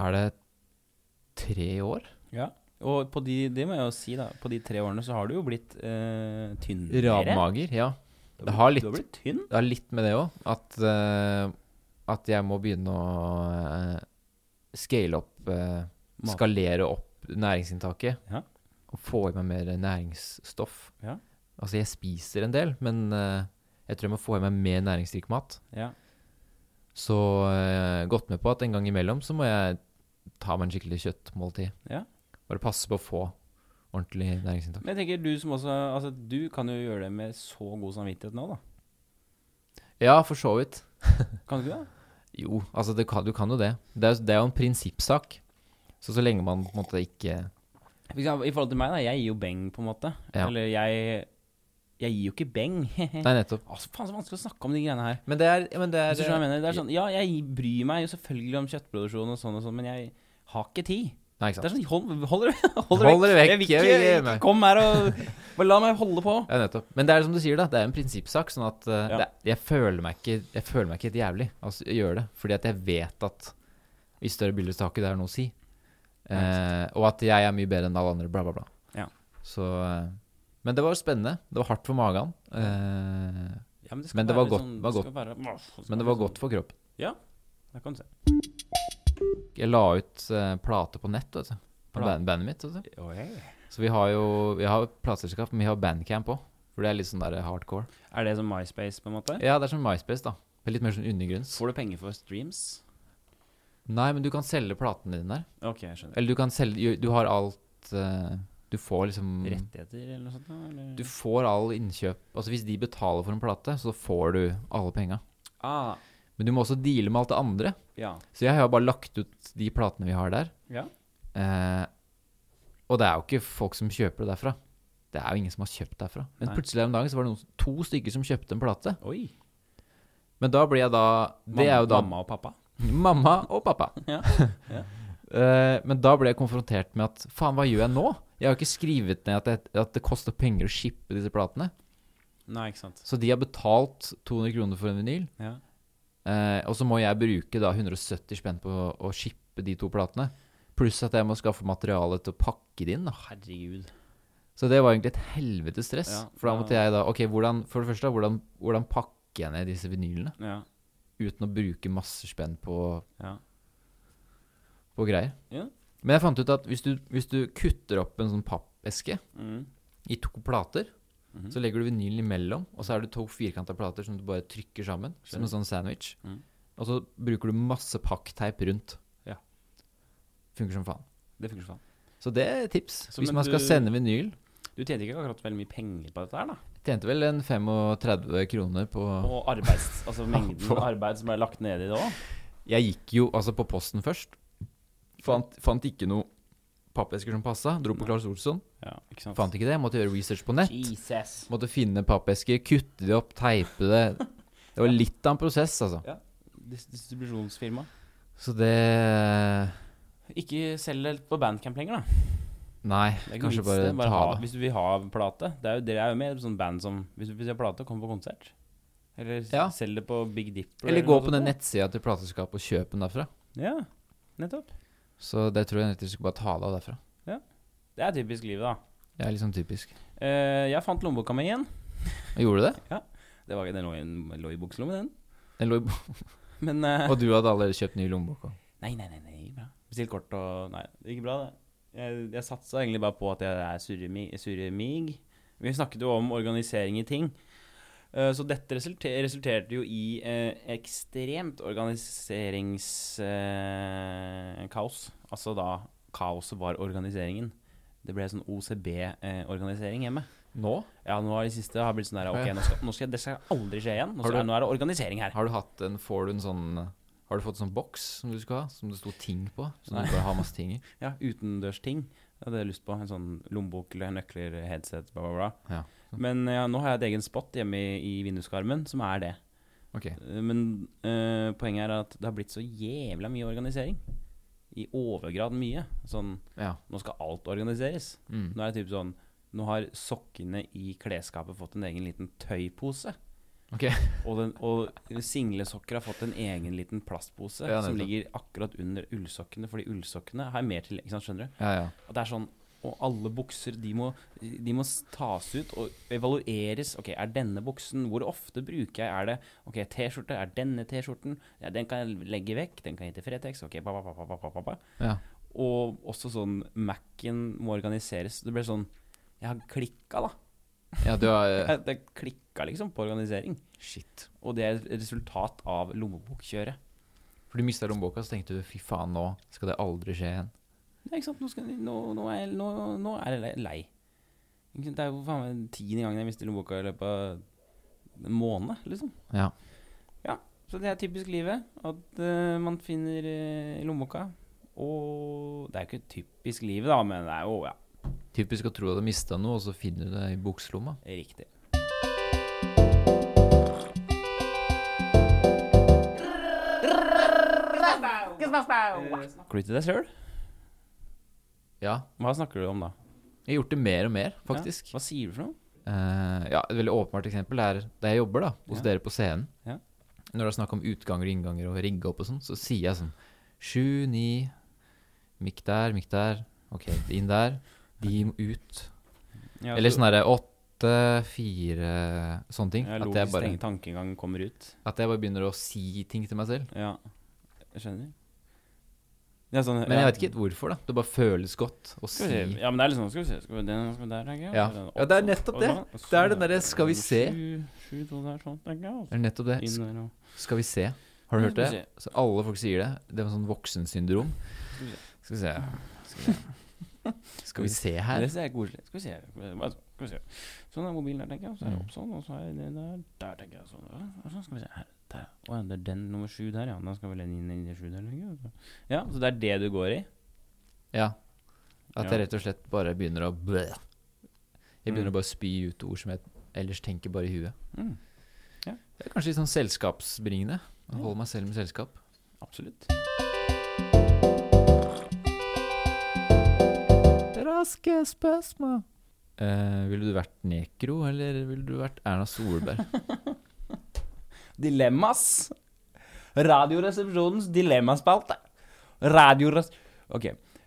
B: Er det tre år?
A: Ja. Og på de, det må jeg jo si, da. På de tre årene så har du jo blitt eh, tynnere.
B: Radmager, ja.
A: Du
B: Det
A: blitt-
B: har litt-
A: Du har blitt tynn?
B: Det er litt med det òg. At, eh, at jeg må begynne å eh, scale opp eh,
A: Mat.
B: Skalere opp næringsinntaket.
A: Ja.
B: Og få i meg mer næringsstoff.
A: Ja.
B: Altså, jeg spiser en del, men eh, jeg tror jeg må få i meg mer næringsrik mat.
A: Ja.
B: Så eh, gått med på at en gang imellom så må jeg ta meg en skikkelig kjøttmåltid.
A: Ja.
B: Bare passe på å få ordentlig næringsinntak.
A: Men jeg tenker du som også Altså, du kan jo gjøre det med så god samvittighet nå, da.
B: Ja, for så vidt.
A: Kan du ikke det?
B: Jo, altså det kan, du kan jo det. Det er, det er jo en prinsippsak. Så så lenge man på en måte ikke
A: For eksempel, I forhold til meg, da. Jeg gir jo beng, på en måte.
B: Ja.
A: Eller jeg Jeg gir jo ikke beng.
B: Nei, nettopp.
A: Altså, faen så vanskelig å snakke om de greiene her.
B: Men det er, ja, men det
A: Hvis
B: er
A: du skjønner hva jeg mener. Det er sånn, ja, jeg bryr meg jo selvfølgelig om kjøttproduksjon og sånn og sånn, men jeg har ikke tid.
B: Nei, ikke
A: Det er
B: sant.
A: sånn, hold, hold, dere- hold
B: Hold dere vekk,
A: Jeg vil ikke,
B: jeg vil ikke-
A: ikke kom her og Bare la meg holde på.
B: Ja, nettopp. Men det er som du sier, da. Det er en prinsippsak. Sånn at eh,
A: Ja.
B: det, jeg, føler meg ikke, jeg føler meg ikke helt jævlig. Altså, jeg gjør det. Fordi at jeg vet at i større bilder så har ikke det her noe å si. Eh, og at jeg er mye bedre enn alle andre, bla, bla, bla.
A: Ja.
B: Så eh, Men det var spennende. Det var hardt for magen. Eh,
A: Ja, men det,
B: Men det var godt- var
A: det skal være- det skal
B: men det
A: være
B: var godt
A: sånn.
B: for kroppen.
A: Det kan du se.
B: Jeg la ut eh, plate på nett, vet du. På
A: Plate.
B: band- bandet mitt. vet du. Så vi har jo vi har plateselskap, men vi har bandcamp òg. For det er litt sånn der hardcore.
A: Er det som MySpace, på en måte?
B: Ja, det er som MySpace, da. Det er Litt mer sånn undergrunns.
A: Får du penger for streams?
B: Nei, men du kan selge platene dine der.
A: Ok, jeg skjønner.
B: Eller du kan selge Du har alt eh, Du får liksom
A: Rettigheter eller noe sånt? da, Eller?
B: Du får all innkjøp. Altså hvis de betaler for en plate, så får du alle penga.
A: ah,
B: Men du må også deale med alt det andre.
A: ja.
B: Så jeg har jo bare lagt ut de platene vi har der.
A: Ja.
B: Eh, og det er jo ikke folk som kjøper det derfra. Det er jo ingen som har kjøpt derfra. Men
A: Nei.
B: plutselig om dagen så var det noen, to stykker som kjøpte en plate.
A: Oi.
B: Men da blir jeg da Det er jo da
A: Mamma og pappa?
B: mamma og pappa.
A: Ja, ja.
B: Eh, men da ble jeg konfrontert med at faen, hva gjør jeg nå? Jeg har jo ikke skrevet ned at det, at det koster penger å shippe disse platene.
A: Nei, ikke sant.
B: Så de har betalt 200 kroner for en vinyl,
A: Ja.
B: eh, og så må jeg bruke da 170 spenn på å, å shippe de to platene. Pluss at jeg må skaffe materiale til å pakke det inn. da.
A: Herregud.
B: Så det var egentlig et helvetes stress.
A: Ja,
B: for da
A: ja.
B: måtte jeg da Ok, hvordan, for det første, da, hvordan, hvordan pakker pakker jeg ned disse vinylene
A: Ja.
B: uten å bruke masse spenn på
A: ja.
B: på greier.
A: Ja.
B: Men jeg fant ut at hvis du, hvis du kutter opp en sånn pappeske
A: Mm.
B: i to plater,
A: Mhm.
B: så legger du vinylen imellom, og så er det to firkanta plater som du bare trykker sammen, som en sånn sandwich.
A: Mhm.
B: Og så bruker du masse pakkteip rundt.
A: Ja.
B: Funker som faen.
A: Det funker sånn.
B: Så det er et tips.
A: Så,
B: hvis
A: men
B: man skal
A: du-
B: sende vinyl
A: Du tjente ikke akkurat veldig mye penger på dette her, da?
B: Tjente vel en 35 kroner på
A: Og arbeids, altså mengden
B: På-
A: arbeid som ble lagt ned i det òg.
B: Jeg gikk jo altså på posten først. Fant, fant ikke noe pappesker som passa. Dro på Claes Olsson.
A: Ja, ikke sant.
B: Fant ikke det. Måtte gjøre research på nett.
A: Jesus.
B: Måtte finne pappesker, kutte de opp, teipe det. Det var litt av en prosess, altså.
A: Dis distribusjonsfirma.
B: Så det
A: Ikke selg det på Bandcamp lenger, da.
B: Nei,
A: Det er ikke
B: kanskje
A: vits
B: bare,
A: det. bare
B: ta
A: ha,
B: det.
A: Hvis du vil ha plate. Det er jo, dere er jo med i et sånt band som Hvis du vil ha plate, kom på konsert. Eller s-
B: Ja.
A: selg det på Big Dipper.
B: Eller gå
A: noe
B: på
A: sånt
B: den
A: da.
B: nettsida til plateselskapet og kjøp den derfra.
A: Ja, nettopp.
B: Så det tror jeg nettopp skal bare ta det av derfra.
A: Det er typisk livet, da.
B: Det er liksom typisk.
A: Eh, jeg fant lommeboka mi igjen.
B: Gjorde du det?
A: Det var, den lå, i en- lå i bukselommen, den.
B: Den lå i bo
A: Men eh,
B: og du hadde allerede kjøpt ny lommebok òg.
A: Nei, nei, nei, nei, det gikk bra. Bestilt kort og Nei, det gikk bra, det. Jeg, jeg satsa egentlig bare på at jeg er surremi- surremig. Vi snakket jo om organisering i ting. Eh, Så dette resulter, resulterte jo i eh, ekstremt organiseringskaos. altså da kaoset var organiseringen. Det ble sånn OCB-organisering hjemme.
B: Nå?
A: Ja, nå har de siste har blitt sånn der Ok, nå skal, nå skal, det skal aldri skje igjen. Nå,
B: Har
A: skal,
B: du-
A: nå er det organisering her.
B: Har du hatt en Får du en sånn Har du fått en sånn boks som du skal ha, som det sto ting på? Som du bare har masse ting i?
A: Ja, utendørsting. Det hadde jeg lyst på. En sånn lommebok, eller nøkler, headset, bla, bla, bla.
B: Ja.
A: Men ja, nå har jeg et egen spot hjemme i, i vinduskarmen, som er det.
B: Ok.
A: Eh, Men eh, poenget er at det har blitt så jævla mye organisering. I overgrad mye. Sånn,
B: Ja.
A: nå skal alt organiseres.
B: Mm.
A: Nå er det typ sånn Nå har sokkene i klesskapet fått en egen liten tøypose.
B: Ok.
A: Og, den, og singlesokker har fått en egen liten plastpose
B: Ja,
A: som
B: nettopp.
A: ligger akkurat under ullsokkene, fordi ullsokkene har mer til ikke sant, Skjønner du?
B: Ja, ja.
A: At det er sånn Og alle bukser, de må, de må tas ut og evalueres. Ok, er denne buksen Hvor ofte bruker jeg Er det Ok, T-skjorte. Er denne T-skjorten Ja, den kan jeg legge vekk. Den kan jeg gi til Fretex. Ok, ba, ba, ba, ba, ba, ba, ba.
B: ja.
A: Og også sånn Mac-en må organiseres. Det ble sånn Jeg har klikka, da.
B: ja du har eh,
A: Jeg- Det klikka liksom på organisering.
B: Shit.
A: Og det er et resultat av lommebokkjøret.
B: For du mista lommeboka, så tenkte du fy faen, nå skal det aldri skje igjen.
A: Nei, ikke sant? Nå, skal, nå, nå, er, jeg- nå, nå er jeg le- lei. Ikke sant? Det er jo faen meg tiende gangen jeg mister lommeboka i løpet av en måned, liksom.
B: Ja.
A: Så det er typisk livet, at eh, man finner eh, lommeboka. Og det er jo ikke typisk livet, da, men det er jo ja,
B: Typisk å tro at du har mista noe, og så finner du det i bukselomma.
A: riktig. Snakker du til deg sjøl?
B: Ja.
A: Hva snakker du om da?
B: Jeg har gjort det mer og mer, faktisk.
A: Ja, hva sier du for noe?
B: Eh, ja, Et veldig åpenbart eksempel er da jeg jobber da, hos
A: Ja.
B: dere på scenen.
A: Ja.
B: Når det er snakk om utganger og innganger og rigge opp og sånn, så sier jeg sånn Sju, ni Mikk der, mikk der. Ok, inn der. De må ut.
A: Ja,
B: Eller
A: så-
B: sånn derre åtte, fire Sånne ting.
A: Ja,
B: at, jeg
A: logisk
B: bare,
A: tenk- tankegang kommer ut.
B: at jeg bare begynner å si ting til meg selv.
A: Ja, jeg skjønner. Ja, sånn,
B: Men
A: ja.
B: jeg vet ikke helt hvorfor, da. Det bare føles godt å si
A: Skal vi se. Ja, men det er liksom Skal vi se skal vi, den, skal vi der, tenker jeg.
B: Ja.
A: og den-
B: Ja, det er nettopp
A: og
B: det.
A: da- og
B: Det
A: så-
B: er den derre skal vi se.
A: Sju, sju, to der, sånn, tenker jeg. og
B: Det er nettopp det.
A: så Inn der og
B: Skal vi se. Har du
A: Ja,
B: hørt
A: skal vi
B: det? Så alle folk sier det. Det er sånn voksensyndrom.
A: Skal vi
B: Skal vi se. Skal vi se. Skal vi se her.
A: Det ser jeg koselig Skal vi se. Hva- Skal vi se. Sånn er mobilen der, tenker jeg. Og så er det
B: Mm.
A: opp sånn, og så er det der. Der, tenker jeg. Sånn. ja, Og så skal vi se her. Der. Å ja, det er den nummer sju der, ja. Da skal vel den inn i det sju der, tenker jeg. og så- Ja, så det er det du går i?
B: Ja. At
A: Ja.
B: jeg rett og slett bare begynner å blæ. Jeg
A: Mm.
B: begynner å bare spy ut ord som jeg ellers tenker bare i huet.
A: Mm,
B: Det er kanskje litt sånn selskapsbringende. Å
A: Ja.
B: holde meg selv med selskap.
A: absolutt.
B: Raske spørsmål. ville Eh, du vært Nekro, eller ville du vært Erna Solberg?
A: Dilemmas. Radioresepsjonens dilemmaspalte. Radiores... Ok.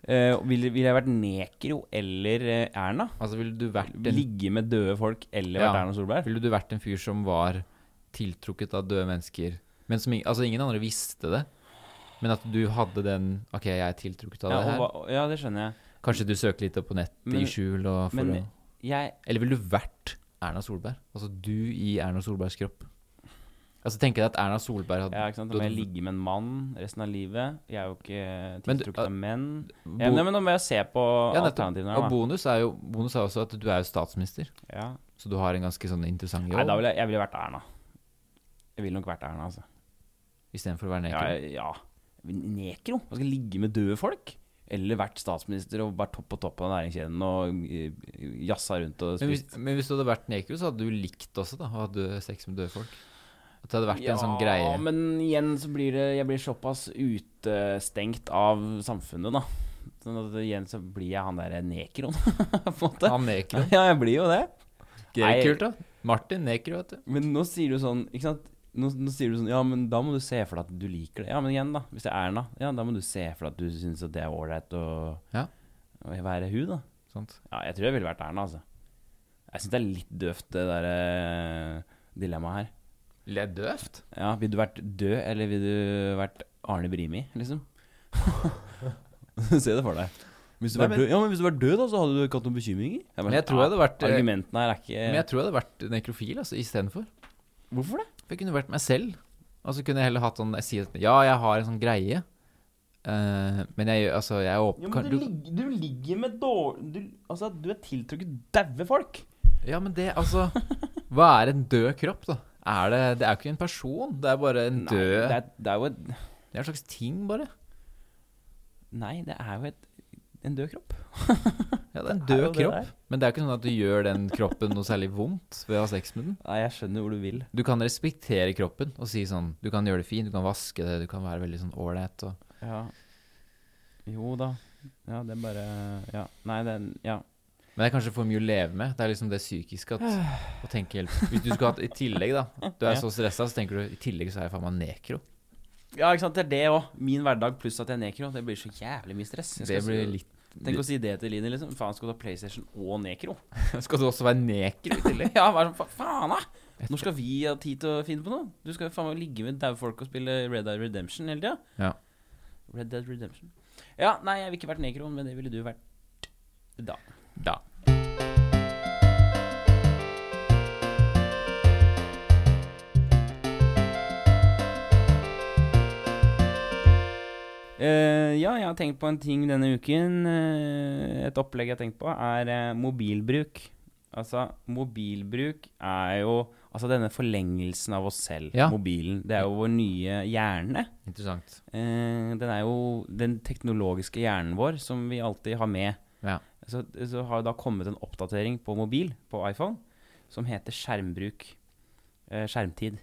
A: eh, ville vil jeg vært Nekro eller eh, Erna?
B: altså, ville du vært en,
A: Ligge med døde folk eller
B: Ja.
A: vært Erna Solberg?
B: ville du vært en fyr som var tiltrukket av døde mennesker. Men som, ing- altså, ingen andre visste det. Men at du hadde den OK, jeg er tiltrukket av
A: Ja,
B: det
A: og
B: her.
A: hva- ja, det skjønner jeg.
B: Kanskje du søker litt opp på nettet
A: Men-
B: i skjul og for
A: men-
B: å
A: Jeg
B: Eller ville du vært Erna Solberg? Altså du i Erna Solbergs kropp. Altså tenk deg at Erna Solberg hadde
A: ja, ikke sant? Da må jeg ligge med en mann resten av livet. Jeg er jo ikke
B: Men du-
A: tiltrukket av menn.
B: bo-
A: Ja, men, nei, men nå må jeg se på
B: Ja, nettopp.
A: alternativene.
B: Og
A: her, da.
B: bonus er jo bonus er også at du er jo statsminister,
A: Ja.
B: så du har en ganske sånn interessant
A: Nei, da
B: jobb
A: ville jeg, jeg ville vært Erna. Jeg ville nok vært Erna, altså.
B: istedenfor å være
A: Ja,
B: neker.
A: ja. Nekro? Man skal ligge med døde folk? Eller vært statsminister og vært topp på topp av næringskjeden og eh, jazza rundt og
B: Men hvis,
A: spist
B: men hvis du hadde vært neker, så hadde du likt også da å ha død, sex med døde folk. At det hadde vært en sånn greie.
A: Ja, men igjen så blir det Jeg blir såpass utestengt av samfunnet, da. Sånn at igjen så blir jeg han derre nekroen, på en måte.
B: Han neker jo.
A: Ja, jeg blir jo det.
B: Det
A: Nei.
B: er kult, da. Martin neker jo, vet du.
A: Men nå sier du sånn, ikke sant nå, nå sier du sånn, ja, men da må du se for deg at du liker det. Ja, men igjen, da. Hvis det er Erna, ja, da må du se for deg at du syns at det er ålreit å
B: Ja.
A: å være hun, da.
B: Sant.
A: Ja, jeg tror jeg ville vært Erna, altså. Jeg syns det er litt døvt, det derre dilemmaet her.
B: Det er døvt.
A: Ja, Vil du vært død, eller vil du vært Arne Brimi, liksom? Se det for deg. Hvis du
B: Nei,
A: var
B: men-
A: død, ja, men hvis du var død, da, så hadde du ikke hatt noen bekymringer? Jeg bare,
B: Men jeg tror jeg hadde vært,
A: ja,
B: eh,
A: Argumentene her er ikke
B: Men jeg tror jeg hadde vært nekrofil altså, istedenfor.
A: Hvorfor det?
B: For jeg kunne vært meg selv. Og så kunne jeg heller hatt sånn jeg sier, at, Ja, jeg har en sånn greie, eh, men jeg gjør Altså, jeg er åpen kan- du-
A: ligger, med dårlig Altså, du er tiltrukket daue folk.
B: Ja, men det, altså Hva er en død kropp, da? Er det, det er jo ikke en person, det er bare en
A: Nei,
B: død
A: det
B: det, er,
A: er, det er jo et
B: en slags ting, bare.
A: Nei, det er jo et, en død kropp.
B: Ja, det er en
A: Det er
B: død
A: jo det
B: kropp.
A: det er.
B: men det er jo ikke sånn at du gjør den kroppen noe særlig vondt ved å ha sex med den.
A: Nei, jeg skjønner hvor du vil.
B: Du kan respektere kroppen og si sånn Du kan gjøre det fint, du kan vaske det, du kan være veldig sånn ålreit og
A: Ja. Jo da. Ja, det er bare Ja. Nei, det er Ja.
B: Men det er kanskje for mye å leve med. Det er liksom det psykiske at, å tenke helt Hvis du skulle hatt i tillegg, da. Du er
A: Ja.
B: så stressa, så tenker du i tillegg så er jeg faen meg nekro.
A: Ja, ikke sant. Det er det òg. Min hverdag pluss at jeg er nekro. Det blir så jævlig mye stress. Jeg
B: Det
A: skal
B: blir
A: si-
B: litt
A: Tenk å si det til Line, liksom. Faen, skal du ha PlayStation og nekro?
B: Skal du også være nekro i tillegg?
A: ja, hva er det som- fa- faen, da? Når skal vi ha tid til å finne på noe? Du skal jo faen meg ligge med daue folk og spille Red Dead Redemption hele tida.
B: Ja.
A: Red Dead Redemption. Ja, nei, jeg ville ikke vært nekro, men det ville du vært da.
B: Da.
A: Eh, ja, jeg har tenkt på en ting denne uken. eh, et opplegg jeg har tenkt på, er eh, mobilbruk. Altså, mobilbruk er jo Altså denne forlengelsen av oss selv,
B: Ja.
A: mobilen. Det er jo vår nye hjerne.
B: Interessant.
A: Eh, den er jo den teknologiske hjernen vår som vi alltid har med.
B: Ja.
A: Så, så har det da kommet en oppdatering på mobil, på iPhone, som heter skjermbruk. Eh, skjermtid.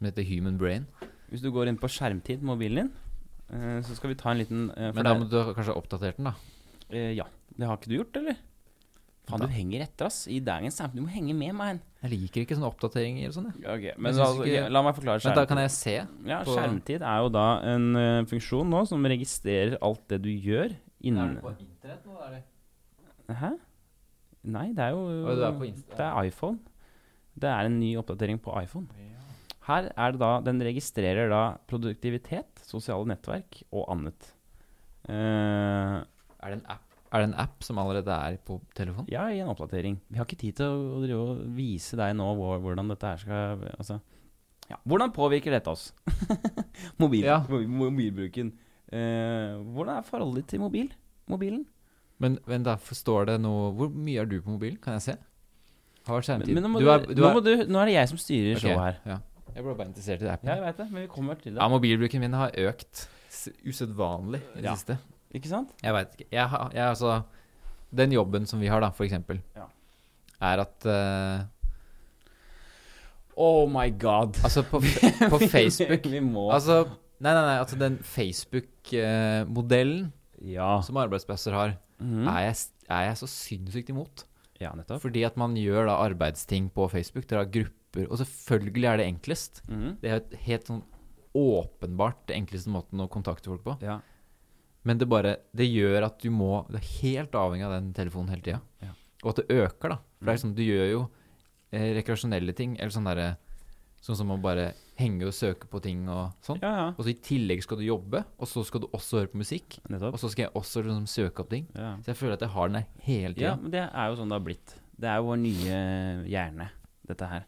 B: Som heter human brain.
A: Hvis du går inn på skjermtid på mobilen din, eh, så skal vi ta en liten eh, for
B: Men da
A: det-
B: må du ha- kanskje ha oppdatert den, da.
A: Eh, ja. Det har ikke du gjort, eller? Faen,
B: Da.
A: du henger etter, ass. I dagens samfunn. Du må henge med meg.
B: Jeg liker ikke sånne oppdateringer og sånn, jeg.
A: Okay,
B: men
A: men
B: altså, ok,
A: la meg forklare
B: Men da kan jeg se.
A: ja,
B: på-
A: skjermtid er jo da en eh, funksjon nå som registrerer alt det du gjør innen
B: internett nå,
A: Hæ? Nei, det er jo
B: Oi, du er på Insta.
A: Det er iPhone. Det er en ny oppdatering på iPhone. Her er det da Den registrerer da produktivitet, sosiale nettverk og annet. Eh,
B: Er det en app? Er det en app som allerede er på telefonen?
A: Ja, i en oppdatering. Vi har ikke tid til å, å drive og vise deg nå hvor, hvordan dette her skal Altså ja. Hvordan påvirker dette oss? mobil,
B: Ja.
A: mo- Mobilbruken. Eh, hvordan er forholdet ditt til mobil? mobilen?
B: Men, men da forstår det noe Hvor mye er du på mobilen? Kan jeg se? Har
A: Men,
B: skjermtid.
A: men nå, må
B: Du
A: du,
B: er- du
A: nå,
B: er-
A: må du, nå er det jeg som styrer
B: Ok,
A: showet her.
B: Ja. Jeg ble bare interessert i appen.
A: Ja, jeg vet det, men vi kommer til det.
B: Ja, mobilbruken min har økt s- usedvanlig i det
A: Ja.
B: siste.
A: Ikke sant?
B: Jeg veit ikke. Jeg, har- jeg, altså, den jobben som vi har, da, for eksempel,
A: Ja.
B: er at eh,
A: Oh my god.
B: Altså, på, på Facebook
A: vi må
B: Altså, nei, nei, nei. Altså, den Facebook-modellen
A: Ja.
B: som arbeidsplasser har,
A: Mhm.
B: er, jeg, s- er jeg så sinnssykt imot.
A: Ja, nettopp.
B: Fordi at man gjør da arbeidsting på Facebook. Dere har grupper. Og selvfølgelig er det enklest.
A: Mhm.
B: Det er jo et helt sånn åpenbart det enkleste måten å kontakte folk på.
A: Ja.
B: Men det bare Det gjør at du må Du er helt avhengig av den telefonen hele tida.
A: Ja. Mm.
B: Og at det øker, da. For det er sånn, du gjør jo eh, rekreasjonelle ting, eller sånn derre Sånn som å bare henge og søke på ting og sånn.
A: Ja, ja.
B: Og så i tillegg skal du jobbe, og så skal du også høre på musikk. Og
A: Nettopp.
B: så skal jeg også liksom søke opp ting.
A: Ja.
B: Så jeg føler at jeg har den der hele
A: ja,
B: tiden
A: men det er jo sånn det har blitt. Det er jo vår nye hjerne, dette her.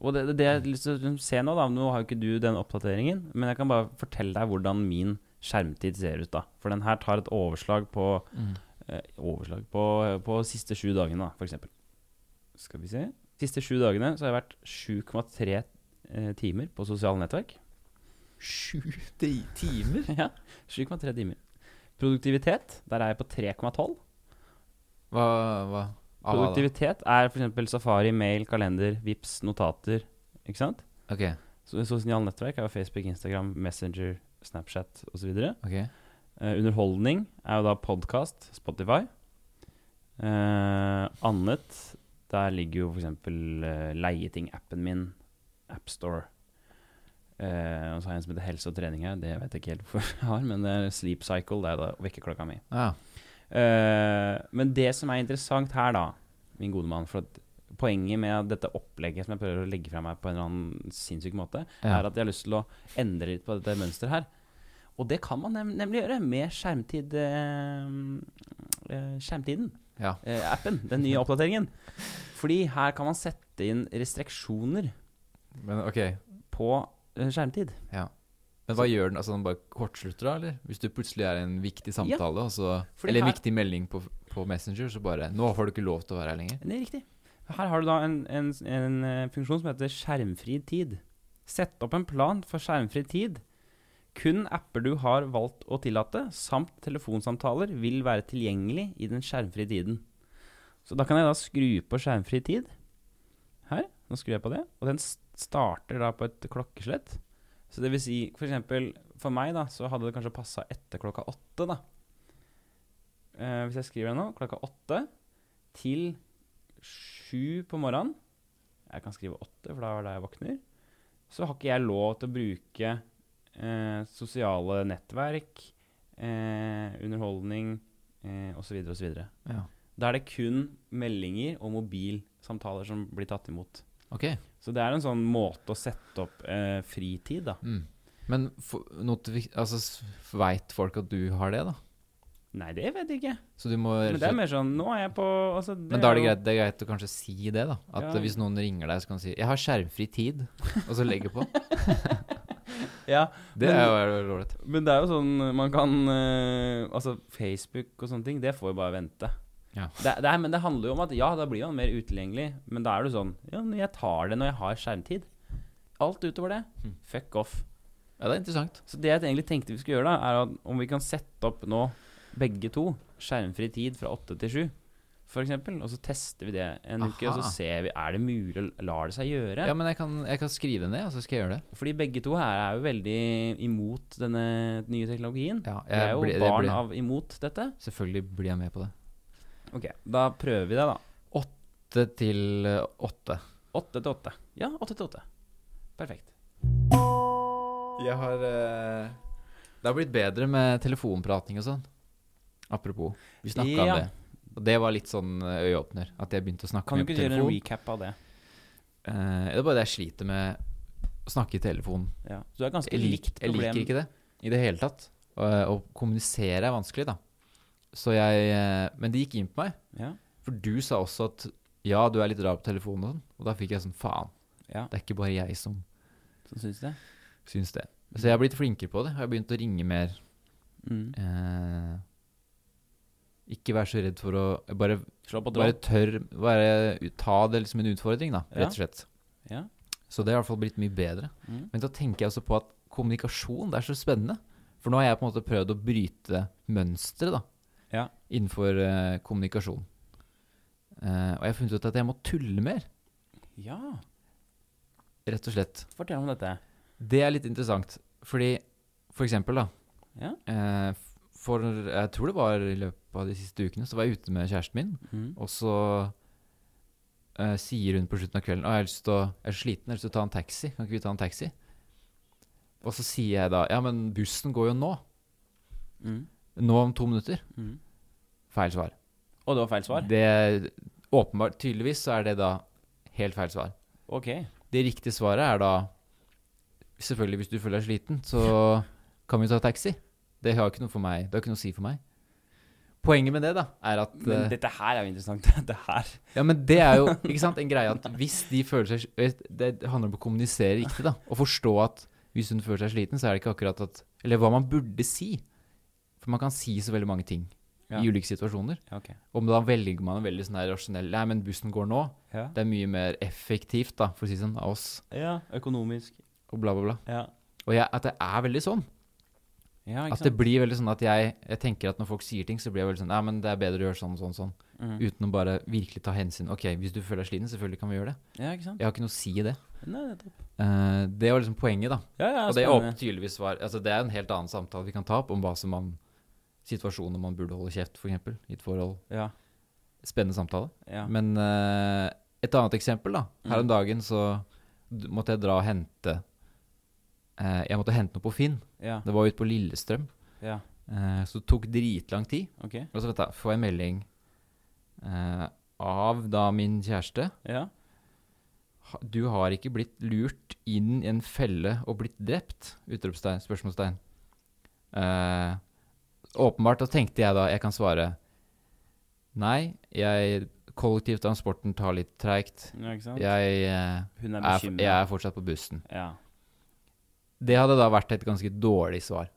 A: Og det, det, det jeg har lyst til å se nå, da Nå har jo ikke du den oppdateringen, men jeg kan bare fortelle deg hvordan min skjermtid ser ut, da. For den her tar et overslag på
B: Mm.
A: eh, Overslag på, på siste sju dagene, da, for eksempel. Skal vi se Siste sju dagene så har jeg vært 7,3 eh, timer på sosiale nettverk.
B: Sju ti- timer?
A: ja, 7,3 timer. Produktivitet, der er jeg på 3,12.
B: Hva, hva? Av Ah, hva da?
A: Produktivitet er f.eks. safari, mail, kalender, vips, notater. Ikke sant?
B: Ok,
A: Så Sosiale nettverk er jo Facebook, Instagram, Messenger, Snapchat osv.
B: ok.
A: Eh, underholdning er jo da podkast, Spotify. Eh, annet Der ligger jo f.eks. Eh, leieting-appen min, AppStore. Eh, og så har jeg en som heter Helse og trening her. Det vet jeg ikke helt hvorfor jeg har, men det er Sleep Cycle. Det er da vekkerklokka mi.
B: Ja.
A: Eh, men det som er interessant her, da, min gode mann for at Poenget med dette opplegget som jeg prøver å legge fra meg på en eller annen sinnssyk måte,
B: ja.
A: er at jeg har lyst til å endre litt på dette mønsteret her. Og det kan man nem nemlig gjøre med skjermtid eh, eh, skjermtiden.
B: Ja.
A: Eh, appen. Den nye oppdateringen. Fordi her kan man sette inn restriksjoner
B: Men ok.
A: på eh, skjermtid.
B: Ja. Men hva gjør den? Altså Den bare kortslutter, da? eller? Hvis du plutselig er i en viktig samtale, og så,
A: Fordi
B: eller en
A: her-
B: viktig melding på, på Messenger, så bare 'Nå får du ikke lov til å være her lenger'.
A: Det er riktig. Her har du da en, en, en eh, funksjon som heter skjermfri tid. Sett opp en plan for skjermfri tid. Kun apper du har valgt å tillate, samt telefonsamtaler, vil være tilgjengelig i den skjermfrie tiden. Så da kan jeg da skru på skjermfri tid. Her. Nå skrur jeg på det. Og den s- starter da på et klokkeslett. Så det vil si, for eksempel for meg, da, så hadde det kanskje passa etter klokka åtte, da. Eh, hvis jeg skriver det nå, klokka åtte til sju på morgenen Jeg kan skrive åtte, for da er det da jeg våkner. Så har ikke jeg lov til å bruke eh, sosiale nettverk, eh, underholdning eh, osv. osv.
B: Ja.
A: Da er det kun meldinger og mobilsamtaler som blir tatt imot.
B: Ok.
A: Så det er en sånn måte å sette opp eh, fritid, da.
B: Mm. Men for, notifi- altså, veit folk at du har det, da?
A: Nei, det vet jeg ikke.
B: Så du må
A: Men det er mer sånn Nå er jeg på altså,
B: Men da er det
A: jo-
B: greit, det er greit å kanskje si det, da. At
A: Ja.
B: hvis noen ringer deg, så kan du si 'Jeg har skjermfri tid', og så legger på.
A: Ja,
B: Det
A: Men-
B: er jo ålreit.
A: Men det er jo sånn man kan eh, Altså, Facebook og sånne ting, det får jo bare vente.
B: Ja.
A: Det, det er, men det handler jo om at ja, da blir man mer utilgjengelig, men da er det sånn Ja, men jeg tar det når jeg har skjermtid. Alt utover det,
B: Mm.
A: fuck off.
B: Ja, det er interessant.
A: Så det jeg egentlig tenkte vi skulle gjøre, da, er at om vi kan sette opp nå begge to skjermfri tid fra åtte til sju, f.eks., og så tester vi det en uke, og
B: Aha.
A: så ser vi er det mulig, å- lar det seg gjøre?
B: Ja, men jeg kan, jeg kan skrive ned, og så skal jeg gjøre det.
A: Fordi begge to her er jo veldig imot denne nye teknologien.
B: Ja,
A: Vi er jo
B: blir- det
A: barn
B: blir-
A: av imot dette.
B: Selvfølgelig blir jeg med på det.
A: Ok, Da prøver vi det, da.
B: Åtte til eh, åtte.
A: Åtte til åtte. Ja, åtte til åtte. Perfekt.
B: Jeg har eh, Det har blitt bedre med telefonprating og sånn. Apropos, vi snakka
A: Ja.
B: om det. Og det var litt sånn eh, øyeåpner, at jeg begynte å snakke
A: Kan du
B: med
A: ikke gjøre en
B: telefon.
A: recap av det?
B: Eh, det er bare det jeg sliter med å snakke i telefonen.
A: Ja. Så det er ganske
B: Jeg, lik,
A: likt
B: jeg
A: problem.
B: liker ikke det i det hele tatt. Å, å kommunisere er vanskelig, da. Så jeg eh, Men det gikk inn på meg.
A: Ja.
B: For du sa også at ja, du er litt rar på telefonen og sånn. Og da fikk jeg sånn faen.
A: ja,
B: Det er ikke bare jeg som
A: sånn syns jeg.
B: syns det. Så jeg har blitt flinkere på det. Jeg har begynt å ringe mer
A: Mm.
B: Eh, ikke vær så redd for å Bare,
A: Slå på
B: bare
A: tråd.
B: tør bare, ut- Ta det som en utfordring, da,
A: Ja.
B: rett og slett.
A: Ja.
B: Så det har i hvert fall blitt mye bedre.
A: Mm.
B: Men da tenker jeg også på at kommunikasjon, det er så spennende. For nå har jeg på en måte prøvd å bryte mønstre da,
A: Ja.
B: innenfor eh, kommunikasjon. Eh, og jeg har funnet ut at jeg må tulle mer,
A: ja,
B: rett og slett.
A: fortell om dette.
B: Det er litt interessant, fordi for eksempel da
A: Ja.
B: eh, f- For jeg tror det var i løpet av de siste ukene, så var jeg ute med kjæresten min,
A: Mm.
B: og så eh, sier hun på slutten av kvelden Å, jeg er, lyst til å, jeg er så sliten, jeg har lyst til å ta en taxi. Kan ikke vi ta en taxi? Og så sier jeg da Ja, men bussen går jo nå.
A: Mm.
B: Nå om to minutter.
A: Mm.
B: Feil svar.
A: Og det var feil svar?
B: Det åpenbart Tydeligvis så er det da helt feil svar.
A: Ok.
B: Det riktige svaret er da Selvfølgelig, hvis du føler deg sliten, så kan vi ta taxi. Det har ikke noe for meg Det har ikke noe å si for meg. Poenget med det, da, er at
A: Men
B: eh,
A: dette her er jo interessant. Det her
B: Ja, men det er jo ikke sant, en greie at hvis de føler seg Det handler om å kommunisere riktig, da. Og forstå at hvis hun føler seg sliten, så er det ikke akkurat at Eller hva man burde si. For man kan si så veldig mange ting
A: Ja.
B: i ulike situasjoner.
A: Ja, ok.
B: Og da velger man en veldig sånn her rasjonell Nei, men bussen går nå.
A: Ja.
B: Det er mye mer effektivt, da, for å si det sånn, av oss.
A: ja økonomisk.
B: Og bla, bla, bla.
A: Ja.
B: Og jeg, at det er veldig sånn.
A: ja, ikke
B: At det
A: sant.
B: blir veldig sånn at jeg, jeg tenker at når folk sier ting, så blir jeg veldig sånn Nei, men det er bedre å gjøre sånn, sånn, sånn.
A: Mhm.
B: Uten å bare virkelig ta hensyn. Ok, hvis du føler deg sliten, selvfølgelig kan vi gjøre det.
A: Ja, ikke sant.
B: Jeg har ikke noe å si i det.
A: Nei, nettopp.
B: Eh, det var liksom poenget, da.
A: Ja, ja,
B: Og det
A: spennende.
B: åpnet tydeligvis var Altså, det er en helt annen samtale vi kan ta opp om hva som man Situasjoner man burde holde kjeft, for eksempel I et forhold.
A: Ja.
B: Spennende samtale.
A: Ja. Mm.
B: Men eh, et annet eksempel, da. Her om dagen så d- måtte jeg dra og hente eh, Jeg måtte hente noe på Finn.
A: ja.
B: Det var ute på Lillestrøm.
A: Ja.
B: Eh, så det tok dritlang tid. Altså,
A: Ok.
B: Og så vet jeg, får jeg melding eh, av da min kjæreste
A: Ja.
B: ha- Du har ikke blitt lurt inn i en felle og blitt drept? Utropstegn. Spørsmålstegn. Eh, åpenbart, da tenkte jeg da jeg kan svare Nei, jeg Kollektivtransporten tar litt treigt.
A: ja, ikke sant.
B: Jeg, eh,
A: Hun er
B: er, f- jeg
A: bekymra.
B: er fortsatt på bussen.
A: Ja.
B: Det hadde da vært et ganske dårlig svar.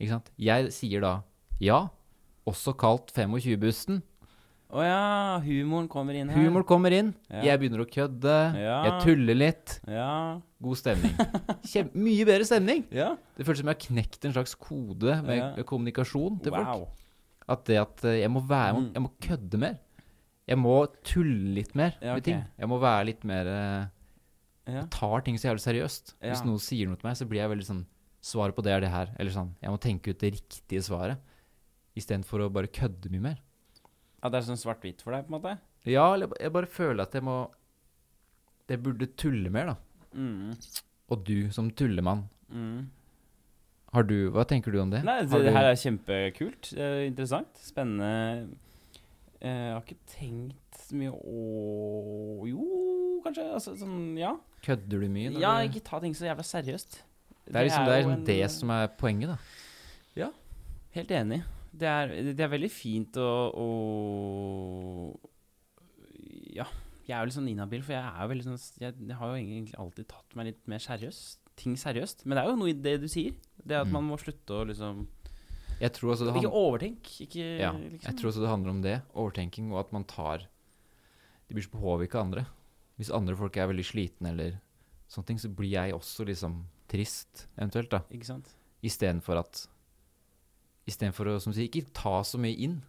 B: Ikke sant? Jeg sier da ja, også kalt 25-bussen.
A: Å ja, humoren kommer inn her.
B: Humor kommer inn,
A: Ja.
B: jeg begynner å kødde, jeg
A: Ja.
B: tuller litt.
A: Ja.
B: God stemning. Kjem, mye bedre stemning!
A: ja.
B: Det føles som jeg har knekt en slags kode med
A: Ja.
B: med kommunikasjon til folk.
A: Wow. Mm.
B: At det at eh, jeg må, være, jeg må, jeg må kødde mer. Jeg må tulle litt mer
A: Ja,
B: med
A: ok.
B: ting. Jeg må være litt mer eh,
A: Ja.
B: Tar ting så jævlig seriøst. Hvis
A: Ja.
B: noen sier noe til meg, så blir jeg veldig sånn Svaret på det er det her. Eller sånn Jeg må tenke ut det riktige svaret. Istedenfor å bare kødde mye mer.
A: ja, det er sånn svart-hvitt for deg, på en måte?
B: Ja, eller jeg bare føler at jeg må Jeg burde tulle mer, da.
A: Mm.
B: Og du som tullemann,
A: Mm.
B: har du Hva tenker du om det?
A: Nei,
B: Har
A: det, det
B: du-
A: her er kjempekult. eh, interessant. Spennende. Eh, jeg har ikke tenkt så mye å Jo, kanskje. Altså, sånn, ja.
B: Kødder du mye? når
A: Ja,
B: du-
A: ikke ta ting så jævla seriøst.
B: Det er liksom det, er
A: jo
B: liksom
A: en- eh,
B: det som er poenget, da.
A: Helt enig. Det er, det er veldig fint å, å Ja. Jeg er jo litt sånn inhabil, for jeg er jo veldig sånn jeg, jeg har jo egentlig alltid tatt meg litt mer seriøst. Ting seriøst. Men det er jo noe i det du sier. Det at
B: Mm.
A: man må slutte å liksom
B: Jeg tror altså det,
A: Ikke
B: handler-
A: overtenk. Ikke
B: ja, jeg
A: liksom
B: tror altså det handler om det. Overtenking, og at man tar De blir så påvirka av andre. Hvis andre folk er veldig slitne eller sånne ting, så blir jeg også liksom trist, eventuelt, da.
A: Ikke sant?
B: Istedenfor at Istedenfor å, som du sier, ikke ta så mye inn.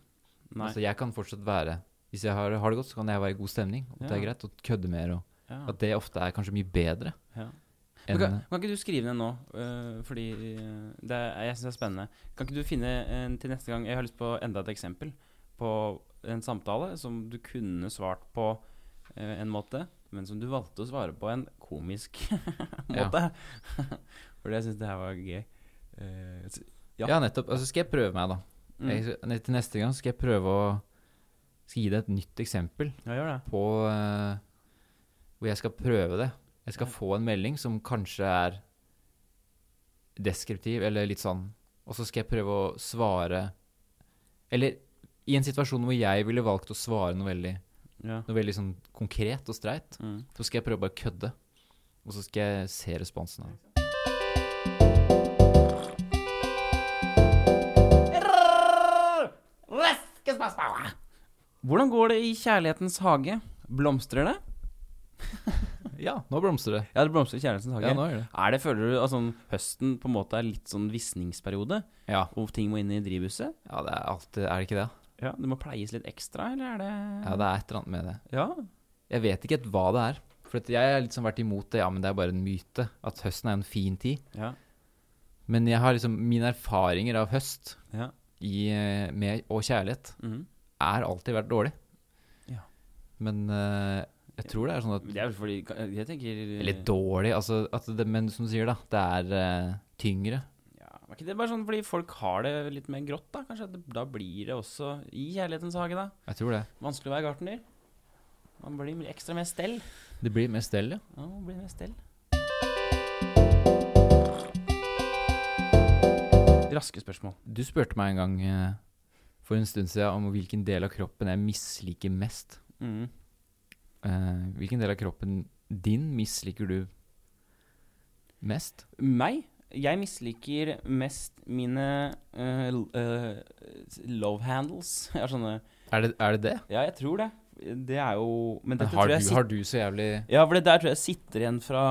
A: Nei.
B: Altså, jeg kan fortsatt være Hvis jeg har, har det godt, så kan jeg være i god stemning. Og Det er
A: Ja.
B: greit. Og kødde mer. Og
A: ja.
B: at det ofte er kanskje mye bedre
A: Ja. Men
B: enn
A: Kan, kan ikke du skrive ned nå, øh, fordi øh, det er, jeg syns det er spennende. Kan ikke du finne en til neste gang Jeg har lyst på enda et eksempel på en samtale som du kunne svart på øh, en måte, men som du valgte å svare på en komisk
B: Ja.
A: måte. fordi jeg syns det her var gøy. Eh, s- ja.
B: ja. nettopp. Altså skal jeg prøve meg, da.
A: mm.
B: Jeg, ne- til neste gang skal jeg prøve å skal gi deg et nytt eksempel
A: Ja, gjør det.
B: på eh, hvor jeg skal prøve det. Jeg skal få en melding som kanskje er deskriptiv, eller litt sånn. Og så skal jeg prøve å svare Eller i en situasjon hvor jeg ville valgt å svare noe veldig,
A: Ja.
B: noe veldig sånn konkret og streit,
A: Mm.
B: så skal jeg prøve å bare kødde. Og så skal jeg se responsen av det.
A: Hvordan går det i kjærlighetens hage? Blomstrer det?
B: Ja, nå blomstrer det.
A: Ja, det blomstrer i kjærlighetens hage.
B: Ja, nå gjør det.
A: Er det, føler du at sånn, høsten på en måte er litt sånn visningsperiode?
B: Ja,
A: Hvor ting må inn i drivhuset?
B: ja det er alltid Er det ikke det?
A: Ja, Det må pleies litt ekstra, eller er det
B: Ja, det er et eller annet med det.
A: Ja.
B: Jeg vet ikke helt hva det er. For at jeg har liksom vært imot det, ja, men det er bare en myte. At høsten er en fin tid.
A: Ja.
B: Men jeg har liksom mine erfaringer av høst
A: Ja.
B: i, eh, med, og kjærlighet
A: Mhm.
B: er alltid vært dårlig.
A: Ja.
B: Men eh, jeg tror det er sånn at
A: Det er vel fordi Jeg tenker
B: Eller dårlig, altså at det, Men som du sier, da. Det er eh, tyngre.
A: ja, Er ikke det bare sånn fordi folk har det litt mer grått, da? Kanskje at det, Da blir det også i kjærlighetens hage, da.
B: Jeg tror det.
A: Vanskelig å være gartner. Man blir ekstra mer stell.
B: Det blir mer stell, ja.
A: Ja, man blir mer stell. Raske spørsmål.
B: Du spurte meg en gang eh, for en stund siden om hvilken del av kroppen jeg misliker mest.
A: Mm.
B: Eh, hvilken del av kroppen din misliker du mest?
A: Meg? Jeg misliker mest mine eh, l- eh, love handles. Jeg har sånne
B: Er det er det? det?
A: Ja, jeg tror det. Det er jo Men
B: Men
A: dette
B: har,
A: tror jeg
B: du,
A: sit-
B: har du så jævlig
A: Ja, for det der tror jeg sitter igjen fra,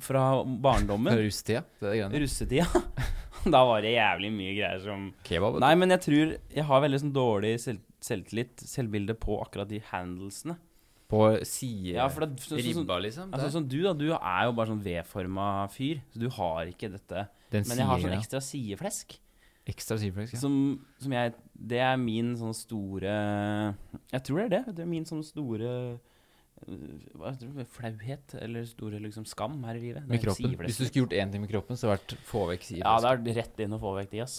A: fra
B: fra
A: barndommen.
B: rusttida? Det er greiene.
A: Russetida. Da var det jævlig mye greier som
B: Kebab? vet
A: Nei, men jeg tror jeg har veldig sånn dårlig selv, selvtillit, selvbilde, på akkurat de handlesene.
B: du. På side...
A: Ja, for det, så, så, så,
B: ribba, liksom?
A: altså, sånn du, da. Du er jo bare sånn V-forma fyr, så du har ikke dette.
B: Den
A: Men jeg har sånn
B: sideren,
A: ekstra sideflesk.
B: ja. ekstra sideflex, ja.
A: Som, som jeg Det er min sånn store Jeg tror det er det. Det er min sånn store øh, hva heter det, flauhet eller store liksom skam her i livet. Det er
B: Med kroppen.
A: sideflesk.
B: Hvis du skulle gjort én ting med kroppen, så hadde det vært få vekk
A: Ja,
B: sideflesk.
A: det er rett inn og få vekk de, ass.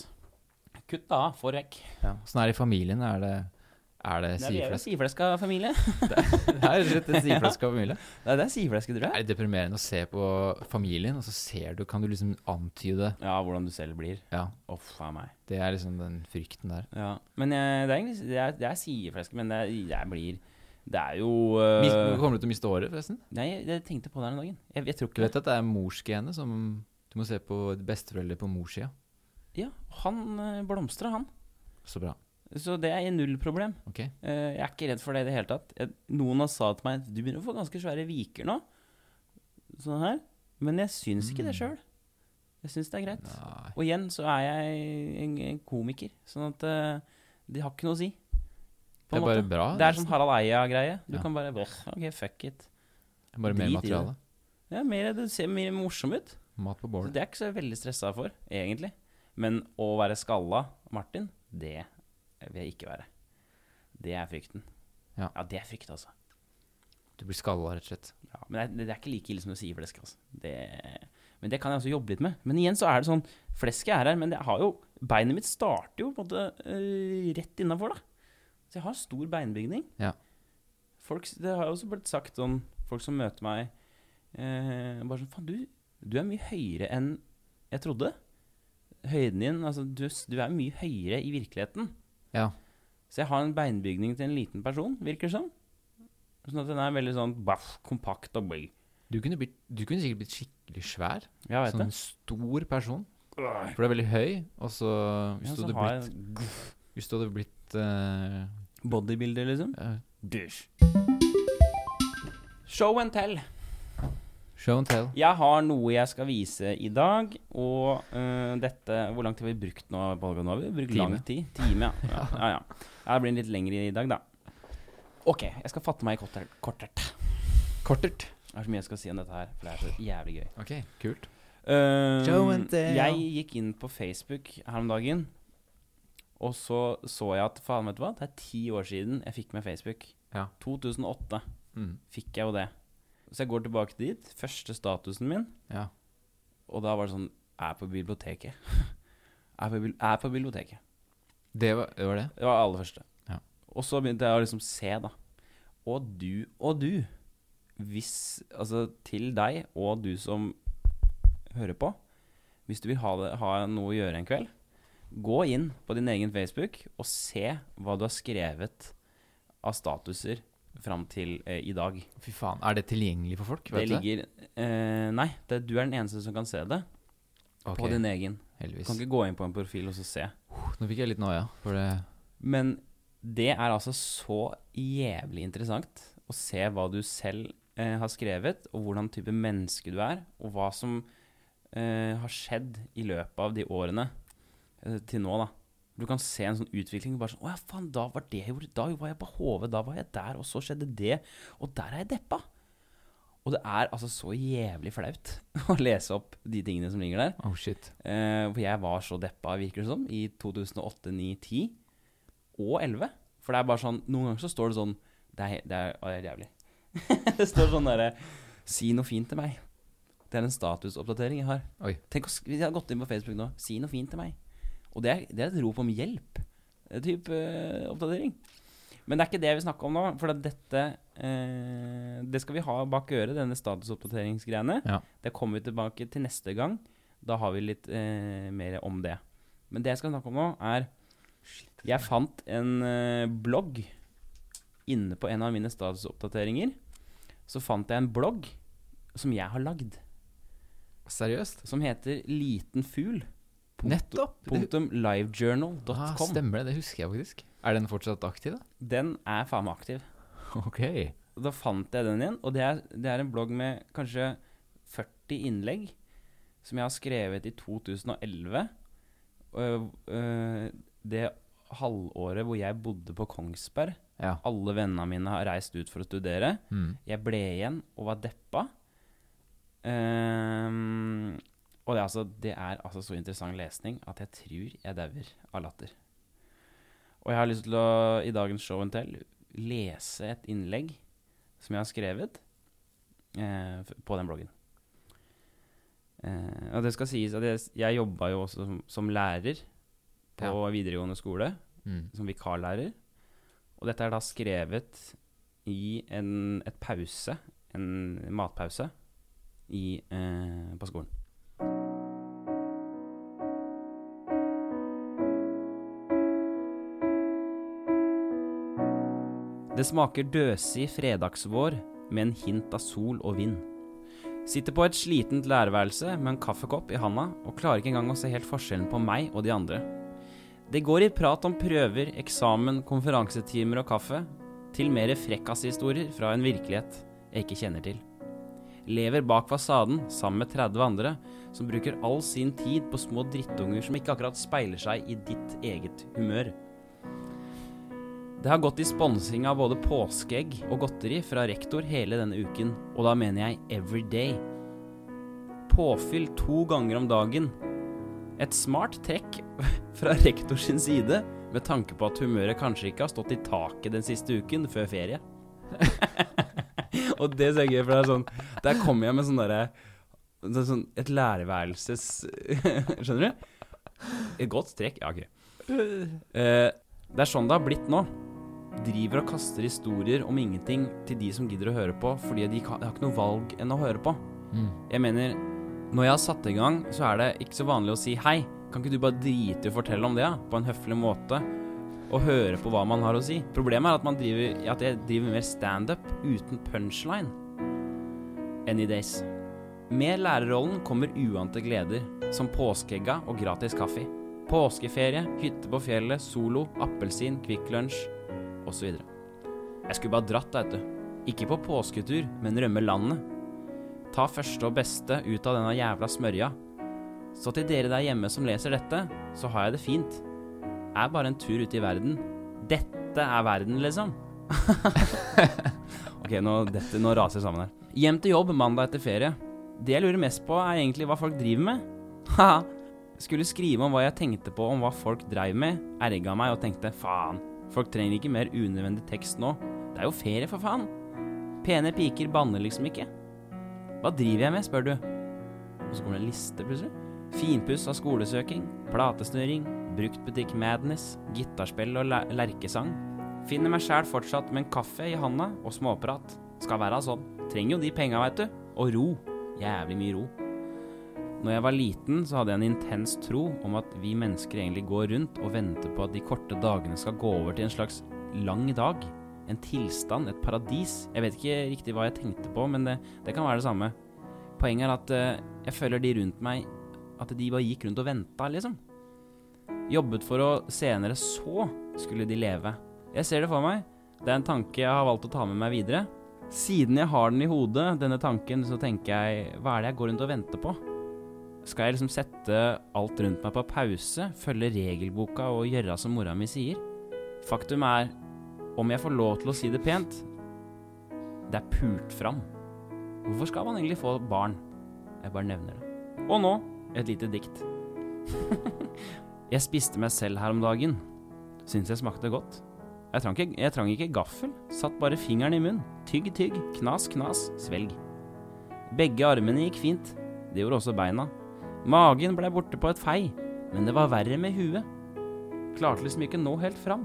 A: Kutt da, få vekk.
B: Ja. Sånn er det i familien. Er det, er det
A: Nei, Vi er jo en
B: sideflesk?
A: sivfleska familie.
B: Det er rett og slett en sideflesk av familien.
A: Nei, det er sivfleske, tror
B: Det
A: jeg.
B: er deprimerende å se på familien, og så ser du, kan du liksom antyde
A: Ja, hvordan du selv blir.
B: Ja,
A: Uff a meg.
B: det er liksom den frykten der.
A: Ja. Men jeg, det er egentlig det er, det er sivfleske, men det, er- jeg blir Det er jo øh,
B: Mist, kommer du til å miste håret, forresten?
A: Nei, jeg, jeg tenkte på det her om dagen. Jeg, jeg tror
B: Du
A: ikke
B: vet at det er morsgenet som Du må se på besteforeldre på morssida.
A: Ja, han øh, blomstra, han.
B: Så bra.
A: Så det er null problem.
B: Ok.
A: Eh, jeg er ikke redd for det i det hele tatt. Jeg, noen har sa til meg Du begynner å få ganske svære viker nå. Sånn her. Men jeg syns ikke det sjøl. Jeg syns det er greit.
B: Mm. Nei.
A: Og igjen så er jeg en, en komiker, sånn at eh, det har ikke noe å si.
B: Det
A: På
B: er
A: en
B: bare
A: måte.
B: bra.
A: Det er sånn Harald Eia-greie. Du
B: Ja.
A: kan bare "Brr, OK, fuck it.
B: Det er bare
A: drit
B: mer
A: i det.
B: materiale.
A: Ja, mer, det ser mer morsom ut.
B: Mat på
A: Så
B: bålet.
A: det er jeg ikke så veldig stressa for, egentlig. Men å være skalla Martin, det vil jeg ikke være. Det er frykten.
B: Ja.
A: det er frykt, altså.
B: Du blir skalla, rett og slett.
A: Ja, men det er, det er ikke like ille som du sier flesk, altså. Det, men det kan jeg også jobbe litt med. Men igjen så er det sånn Flesket er her, men jeg har jo, beinet mitt starter jo på en måte øh, rett innafor, da. Så jeg har stor beinbygning.
B: Ja.
A: Folk, s- det har jo også blitt sagt sånn Folk som møter meg eh, Bare sånn Faen, du, du er mye høyere enn jeg trodde. Høyden din Altså, du, s- du er mye høyere i virkeligheten.
B: Ja.
A: Så jeg har en beinbygning til en liten person, virker det som. Sånn at den er veldig sånn baff, kompakt og bøy.
B: Du kunne, blitt, du kunne sikkert blitt skikkelig svær.
A: Jeg vet
B: Sånn en stor person. For du er veldig høy, og så
A: det.
B: Hvis
A: Ja, så
B: du hadde
A: har jeg
B: blitt, hvis du hadde blitt eh,
A: bodybuilder, liksom.
B: eh,
A: Show and tell.
B: Show and tell.
A: Jeg har noe jeg skal vise i dag, og øh, dette Hvor lang tid har vi brukt nå? Bolga? Nå har vi brukt lang
B: Time.
A: tid. Time, ja. Ja, ja, ja. ja. Det blir litt lengre i dag, da. OK, jeg skal fatte meg i korter- kortert.
B: Kortert.
A: Det er så mye jeg skal si om dette her, for det er så jævlig gøy.
B: Ok, kult.
A: Øhm,
B: Show and tell.
A: Eh, Jeg gikk inn på Facebook her om dagen, og så så jeg at faen, vet du hva, det er ti år siden jeg fikk med Facebook.
B: Ja.
A: 2008
B: Mm.
A: fikk jeg jo det. Så jeg går tilbake dit, første statusen min,
B: Ja.
A: og da var det sånn Er på biblioteket. er, på, bil- er på biblioteket.
B: Det var det. Var det.
A: Det var det aller første.
B: Ja.
A: Og så begynte jeg å liksom se, da. Og du og du. Hvis Altså, til deg og du som hører på. Hvis du vil ha, det, ha noe å gjøre en kveld, gå inn på din egen Facebook og se hva du har skrevet av statuser fram til eh, i dag.
B: Fy faen. Er det tilgjengelig for folk?
A: Det ligger eh, Nei, det, du er den eneste som kan se det.
B: Ok,
A: På din egen. Du
B: heldigvis.
A: kan ikke gå inn på en profil og så se.
B: Nå fikk jeg litt noia. For det
A: Men det er altså så jævlig interessant å se hva du selv eh, har skrevet, og hvordan type menneske du er, og hva som eh, har skjedd i løpet av de årene eh, til nå, da. Du kan se en sånn utvikling. bare sånn, 'Å ja, faen, da var det jeg gjorde. Da var jeg på HV. Da var jeg der. Og så skjedde det. Og der er jeg deppa. Og det er altså så jævlig flaut å lese opp de tingene som ligger der.
B: Oh shit.
A: Eh, For jeg var så deppa, virker det som, i 2008, 2009, 10 og 11. For det er bare sånn Noen ganger så står det sånn Det er, det er, å, det er jævlig. det står sånn derre Si noe fint til meg. Det er en statusoppdatering jeg har.
B: Oi.
A: Tenk oss, Hvis jeg hadde gått inn på Facebook nå Si noe fint til meg. Og det er, det er et rop om hjelp. eh, Typ eh, oppdatering. Men det er ikke det vi snakker om nå, for at dette eh, Det skal vi ha bak øret, denne statusoppdateringsgreiene.
B: Ja.
A: Det kommer vi tilbake til neste gang. Da har vi litt eh, mer om det. Men det jeg skal snakke om nå, er Jeg fant en eh, blogg inne på en av mine statusoppdateringer. Så fant jeg en blogg som jeg har lagd,
B: Seriøst?
A: som heter Liten fugl.
B: Nettopp! Det-
A: Punktum
B: Ah,
A: livejournal.com.
B: stemmer det, det husker jeg faktisk. Er den fortsatt aktiv, da?
A: Den er faen meg aktiv.
B: Ok.
A: Og Da fant jeg den igjen, og det er, det er en blogg med kanskje 40 innlegg som jeg har skrevet i 2011. Øh, øh, det halvåret hvor jeg bodde på Kongsberg.
B: Ja.
A: Alle vennene mine har reist ut for å studere.
B: Mm.
A: Jeg ble igjen og var deppa. Ehm, og det er, altså, det er altså så interessant lesning at jeg tror jeg dauer av latter. Og jeg har lyst til å, i dagens show and tell, lese et innlegg som jeg har skrevet eh, f- på den bloggen. Eh, og det skal sies at jeg, jeg jobba jo også som, som lærer på
B: Ja.
A: videregående skole
B: Mm.
A: som vikarlærer. Og dette er da skrevet i en et pause, en matpause, i, eh, på skolen. Det smaker døsig fredagsvår med en hint av sol og vind. Sitter på et slitent lærerværelse med en kaffekopp i handa og klarer ikke engang å se helt forskjellen på meg og de andre. Det går i prat om prøver, eksamen, konferansetimer og kaffe, til mer frekkashistorier fra en virkelighet jeg ikke kjenner til. Lever bak fasaden sammen med 30 andre som bruker all sin tid på små drittunger som ikke akkurat speiler seg i ditt eget humør. Det har gått i sponsing av både påskeegg og godteri fra rektor hele denne uken, og da mener jeg every day. Påfyll to ganger om dagen. Et smart trekk fra rektor sin side med tanke på at humøret kanskje ikke har stått i taket den siste uken før ferie. og det er så gøy, for det er sånn Der kommer jeg med sånn derre det er sånn Et lærerværelses Skjønner du? Et godt strekk. Ja, ok. Eh, det er sånn det har blitt nå. Driver og kaster historier om ingenting til de som gidder å høre på, fordi de ikke har, de har ikke noe valg enn å høre på.
B: Mm.
A: Jeg mener, når jeg har satt i gang, så er det ikke så vanlig å si hei. Kan ikke du bare drite i å fortelle om det, da? På en høflig måte. Og høre på hva man har å si. Problemet er at, man driver, at jeg driver mer standup uten punchline. Any days. Med lærerrollen kommer uante gleder, som påskeegga og gratis kaffe. Påskeferie, hytte på fjellet, solo, appelsin, Kvikk Lunsj osv. Jeg skulle bare dratt, da, vet du. Ikke på påsketur, men rømme landet. Ta første og beste ut av denne jævla smørja. Så til dere der hjemme som leser dette, så har jeg det fint. Er bare en tur ute i verden. Dette er verden, liksom. ok, nå, dette, nå raser det sammen her. Hjem til jobb mandag etter ferie. Det jeg lurer mest på, er egentlig hva folk driver med. Haha. Skulle skrive om hva jeg tenkte på om hva folk dreiv med, erga meg og tenkte faen, folk trenger ikke mer unødvendig tekst nå. Det er jo ferie, for faen. Pene piker banner liksom ikke. Hva driver jeg med, spør du. Og så kommer det en liste, plutselig. Finpuss av skolesøking, platesnøring, bruktbutikk Madness, gitarspill og la- lerkesang. Finner meg sjæl fortsatt med en kaffe i handa og småprat. Skal være sånn. Trenger jo de penga, veit du. Og ro. Jævlig mye ro. Når jeg var liten, så hadde jeg en intens tro om at vi mennesker egentlig går rundt og venter på at de korte dagene skal gå over til en slags lang dag. En tilstand, et paradis. Jeg vet ikke riktig hva jeg tenkte på, men det, det kan være det samme. Poenget er at eh, jeg føler de rundt meg At de bare gikk rundt og venta, liksom. Jobbet for å senere så skulle de leve. Jeg ser det for meg. Det er en tanke jeg har valgt å ta med meg videre. Siden jeg har den i hodet, denne tanken, så tenker jeg Hva er det jeg går rundt og venter på? Skal jeg liksom sette alt rundt meg på pause, følge regelboka og gjøre som mora mi sier? Faktum er, om jeg får lov til å si det pent, det er pult fram. Hvorfor skal man egentlig få barn? Jeg bare nevner det. Og nå et lite dikt. jeg spiste meg selv her om dagen. Syns jeg smakte godt. Jeg trang, ikke, jeg trang ikke gaffel, satt bare fingeren i munnen. Tygg, tygg, knas, knas, svelg. Begge armene gikk fint, det gjorde også beina. Magen blei borte på et fei, men det var verre med huet. Klarte liksom ikke nå helt fram.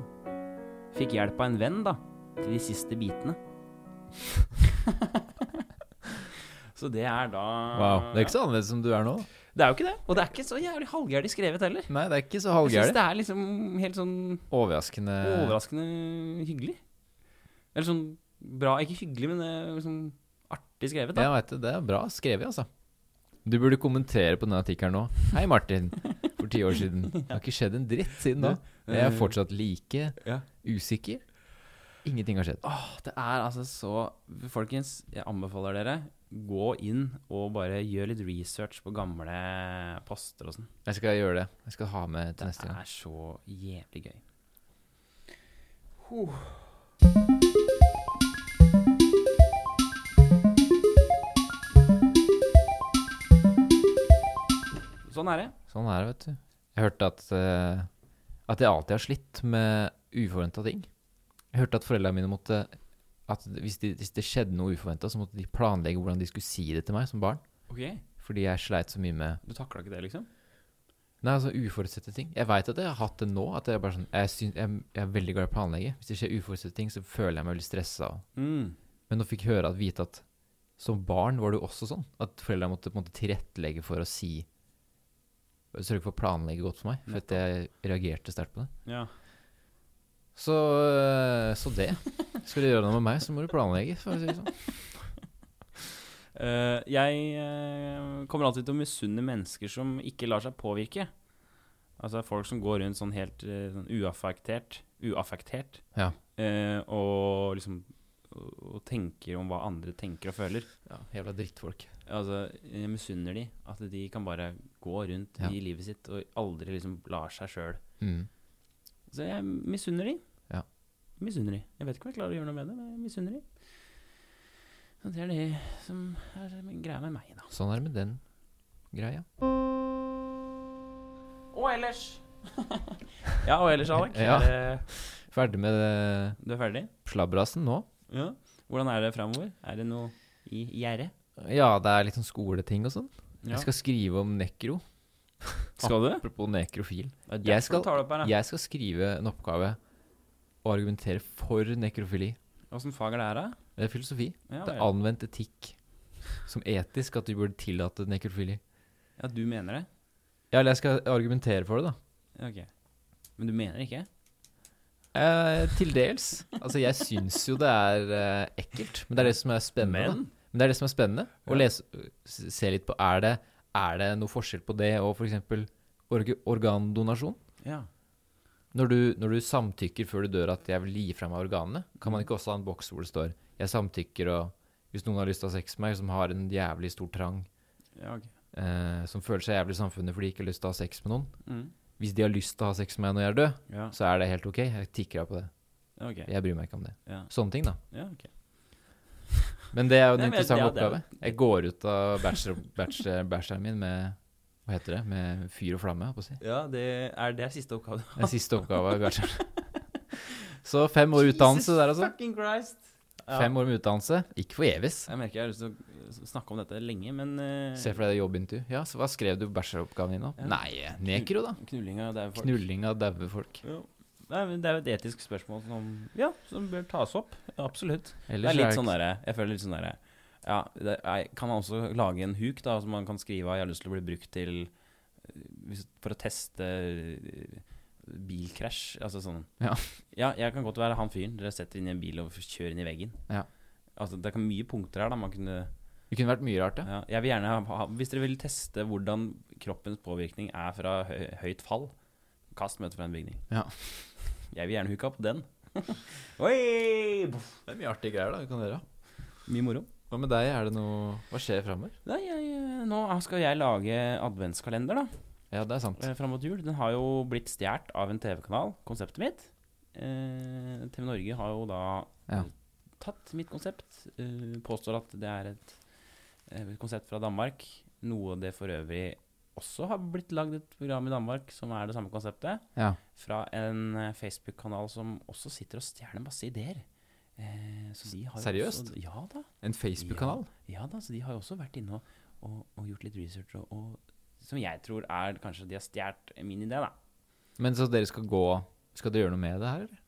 A: Fikk hjelp av en venn, da, til de siste bitene. så det er da
B: Wow. Det er ikke så annerledes som du er nå.
A: Det er jo ikke det. Og det er ikke så jævlig halvgærlig skrevet heller.
B: Nei, det er ikke så
A: Jeg syns
B: halvgærent.
A: det er liksom helt sånn
B: Overraskende
A: overraskende hyggelig. Eller sånn bra Ikke hyggelig, men det er liksom artig skrevet, da.
B: Jeg vet det. Det er bra skrevet, altså. Du burde kommentere på denne artikkelen nå. Hei, Martin. For ti år siden. Det har ikke skjedd en dritt siden da. Jeg er fortsatt like
A: Ja.
B: usikker. Ingenting har skjedd.
A: Åh, det er altså så Folkens, jeg anbefaler dere gå inn og bare gjør litt research på gamle poster og sånn.
B: Jeg skal gjøre det. Jeg skal ha med til
A: Det
B: neste gang.
A: er så jævlig gøy. Sånn er det.
B: Sånn er det, vet du. Jeg hørte at, eh, at jeg alltid har slitt med uforventa ting. Jeg hørte at foreldrene mine måtte At hvis, de, hvis det skjedde noe uforventa, så måtte de planlegge hvordan de skulle si det til meg som barn.
A: Ok,
B: Fordi jeg sleit så mye med
A: Du takla ikke det, liksom?
B: Nei, altså uforutsette ting. Jeg veit at jeg har hatt det nå. At jeg, bare sånn, jeg, syns- jeg, jeg er veldig glad i å planlegge. Hvis det skjer uforutsette ting, så føler jeg meg veldig stressa.
A: Mm.
B: Men nå fikk jeg høre at vite at som barn var det jo også sånn. At foreldrene måtte på en måte tilrettelegge for å si Sørge for å planlegge godt for meg. For at jeg reagerte sterkt på det.
A: Ja.
B: Så, øh, så det. Skal du gjøre noe med meg, så må du planlegge. For å si det sånn.
A: Eh, jeg eh, kommer alltid til å misunne mennesker som ikke lar seg påvirke. Altså folk som går rundt sånn helt eh, sånn uaffektert, uaffektert
B: Ja.
A: eh, og liksom og, og tenker om hva andre tenker og føler.
B: ja, jævla drittfolk.
A: Altså, jeg misunner de at de kan bare gå rundt
B: Ja.
A: i livet sitt og aldri liksom lar seg sjøl.
B: Mm.
A: Så jeg misunner de.
B: Ja.
A: Misunner de. Jeg vet ikke om jeg klarer å gjøre noe med det, men jeg misunner de. Og det er det som er greia med meg, da.
B: Sånn er det med den greia.
A: Og ellers Ja, og ellers, Alek.
B: Ja.
A: Er det-
B: Ferdig med øh,
A: Du er ferdig?
B: slabrasen nå.
A: Ja. Hvordan er det framover? Er det noe i gjerdet?
B: Ja, det er litt sånn skoleting og sånn. Jeg
A: Skal,
B: skal skrive om nekro.
A: skal du?
B: Apropos nekrofil.
A: Det er
B: Jeg
A: derfor
B: skal-
A: du tar det opp her, da.
B: Jeg skal skrive en oppgave og argumentere for nekrofili.
A: Åssen fag er det her, da?
B: Det er Eh, filosofi.
A: Ja,
B: Det er
A: vel.
B: anvendt etikk som etisk at vi burde tillate nekrofili.
A: ja, du mener det?
B: Ja, eller jeg skal argumentere for det, da.
A: Ja, Ok. Men du mener det ikke?
B: Eh, til dels. Altså, jeg syns jo det er eh, ekkelt, men det er det som er spennende. da. Men det er det som er spennende.
A: Ja.
B: Å lese, s- se litt på er det, er det noe forskjell på det og f.eks. Org organdonasjon?
A: Ja.
B: Når du, når du samtykker før du dør at jeg vil gi fra meg organene, kan
A: Mm.
B: man ikke også ha en boks hvor det står 'jeg samtykker', og hvis noen har lyst til å ha sex med meg, som har en jævlig stor trang,
A: ja ok.
B: eh, som føler seg jævlig i samfunnet fordi de ikke har lyst til å ha sex med noen
A: Mm.
B: Hvis de har lyst til å ha sex med meg når jeg er død,
A: Ja.
B: så er det helt ok. Jeg tikker av på det.
A: ja, ok.
B: Jeg bryr meg ikke om det.
A: Ja.
B: Sånne ting, da.
A: Ja, ok.
B: Men det er jo en
A: Nei, men
B: interessant
A: det er- det er-
B: oppgave. Jeg går ut av bachelor, bachelor, bacheloren min med hva heter det, med fyr og flamme. holdt på å si.
A: ja det er det er siste oppgave.
B: Den siste oppgava i bacheloren. Så fem år utdannelse der, altså.
A: Fucking Christ! Ja.
B: Fem år med utdannelse. Ikke for evigs.
A: Jeg merker jeg har lyst til å snakke om dette lenge, men eh,
B: Se for deg det jobbintervju. Ja, så hva skrev du på bacheloroppgaven din, da?
A: Ja.
B: Nei, nekro, da.
A: knullinga det er for
B: Knulling av daue folk.
A: Jo. Nei, men Det er jo et etisk spørsmål som, ja, som bør tas opp. Absolutt. Det
B: Ellers
A: er litt sånn
B: ikke-
A: derre Jeg føler litt sånn derre ja, det er, Kan man også lage en huk da som man kan skrive av 'Jeg har lyst til å bli brukt til eh, hvis, For å teste eh, bilkrasj? Altså sånn
B: Ja.
A: Ja, jeg kan godt være han fyren dere setter inn i en bil og kjører inn i veggen.
B: Ja.
A: Altså, det er mye punkter her. da man kunne,
B: Det kunne vært mye rart,
A: ja.
B: ja.
A: Jeg vil gjerne ha, ha Hvis dere vil teste hvordan kroppens påvirkning er fra hø høyt fall, kast møtet fra en bygning.
B: Ja.
A: Jeg vil gjerne hooke opp den. Oi!
B: Det er mye artige greier da, du kan gjøre.
A: Mye moro.
B: Hva med deg, er det noe Hva skjer framover?
A: Nei, jeg, eh, nå skal jeg lage adventskalender, da.
B: Ja, det er sant.
A: eh, Fram mot jul. Den har jo blitt stjålet av en TV-kanal, konseptet mitt. Eh, TV Norge har jo da
B: Ja.
A: tatt mitt konsept. Eh, påstår at det er et eh, konsept fra Danmark. Noe det for øvrig også har blitt lagd et program i Danmark som er det samme konseptet.
B: Ja.
A: Fra en eh, Facebook-kanal som også sitter og stjeler masse ideer. Eh, så de har jo
B: Seriøst?
A: Også, ja da.
B: En Facebook-kanal?
A: Ja da, så de har jo også vært inne og, og, og gjort litt research, og, og som jeg tror er kanskje de har stjålet min idé, da.
B: Men så dere skal gå Skal dere gjøre noe med det her, eller?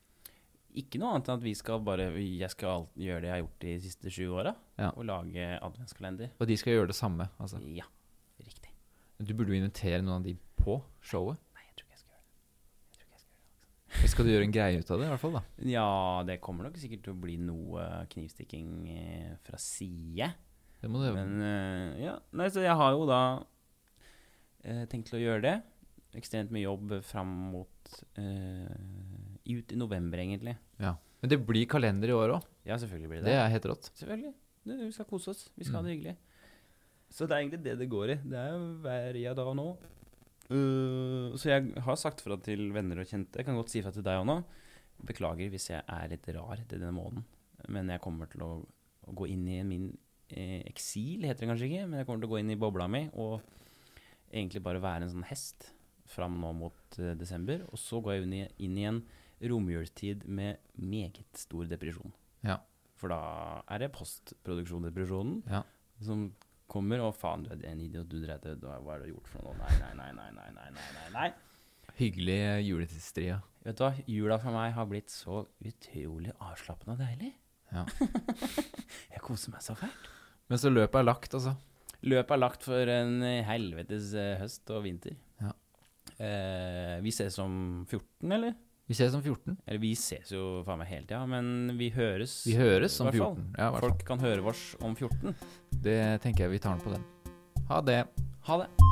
A: Ikke noe annet enn at vi skal bare Jeg skal alt- gjøre det jeg har gjort de siste sju åra,
B: Ja.
A: og lage adventskalender.
B: Og de skal gjøre det samme. Altså.
A: Ja, riktig.
B: Du burde jo invitere noen av de på showet.
A: Nei, jeg tror ikke jeg skal gjøre det. altså. Jeg tror ikke jeg skal gjøre
B: Eller skal du gjøre en greie ut av det, i hvert fall? da
A: det. Ja, det kommer nok sikkert til å bli noe knivstikking eh, fra side.
B: Det må du øve.
A: Men eh, ja, nei, så jeg har jo da eh, tenkt til å gjøre det. Ekstremt mye jobb fram mot eh, ut i november, egentlig.
B: Ja. Men det blir kalender i år òg.
A: Ja, selvfølgelig blir det
B: Det
A: det.
B: er helt rått.
A: Selvfølgelig. Det- Vi skal kose oss. Vi skal ha det hyggelig. Så det er egentlig det det går i. Det er jo hver jeg da og nå. Eh, så jeg har sagt fra til venner og kjente. Jeg kan godt si fra til deg òg nå. Beklager hvis jeg er litt rar til denne måneden, men jeg kommer til å, å gå inn i min eh, eksil, heter det kanskje ikke, men jeg kommer til å gå inn i bobla mi og egentlig bare være en sånn hest fram nå mot eh, desember. Og så går jeg inn i, inn i en romjulstid med meget stor depresjon.
B: Ja.
A: For da er det postproduksjonsdepresjonen
B: Ja.
A: som kommer, og faen, du er en idiot, du dreit deg ut, hva hva er det du har gjort for noe? Nei, nei, nei, nei, nei, nei, nei, nei, nei.
B: Hyggelig eh, juletidstria.
A: Vet du hva, jula for meg har blitt så utrolig avslappende og deilig.
B: Ja.
A: Jeg koser meg så fælt.
B: Men så løpet er lagt, altså.
A: Løpet er lagt for en helvetes eh, høst og vinter.
B: Ja.
A: Eh, vi ses om 14, eller?
B: Vi ses om 14.
A: Eller vi ses jo faen meg hele tida, men vi høres.
B: Vi høres om
A: I hvert fall.
B: 14. Ja, i hvert fall.
A: Folk kan høre oss om 14.
B: Det tenker jeg vi tar den på den. Ha det.
A: Ha det.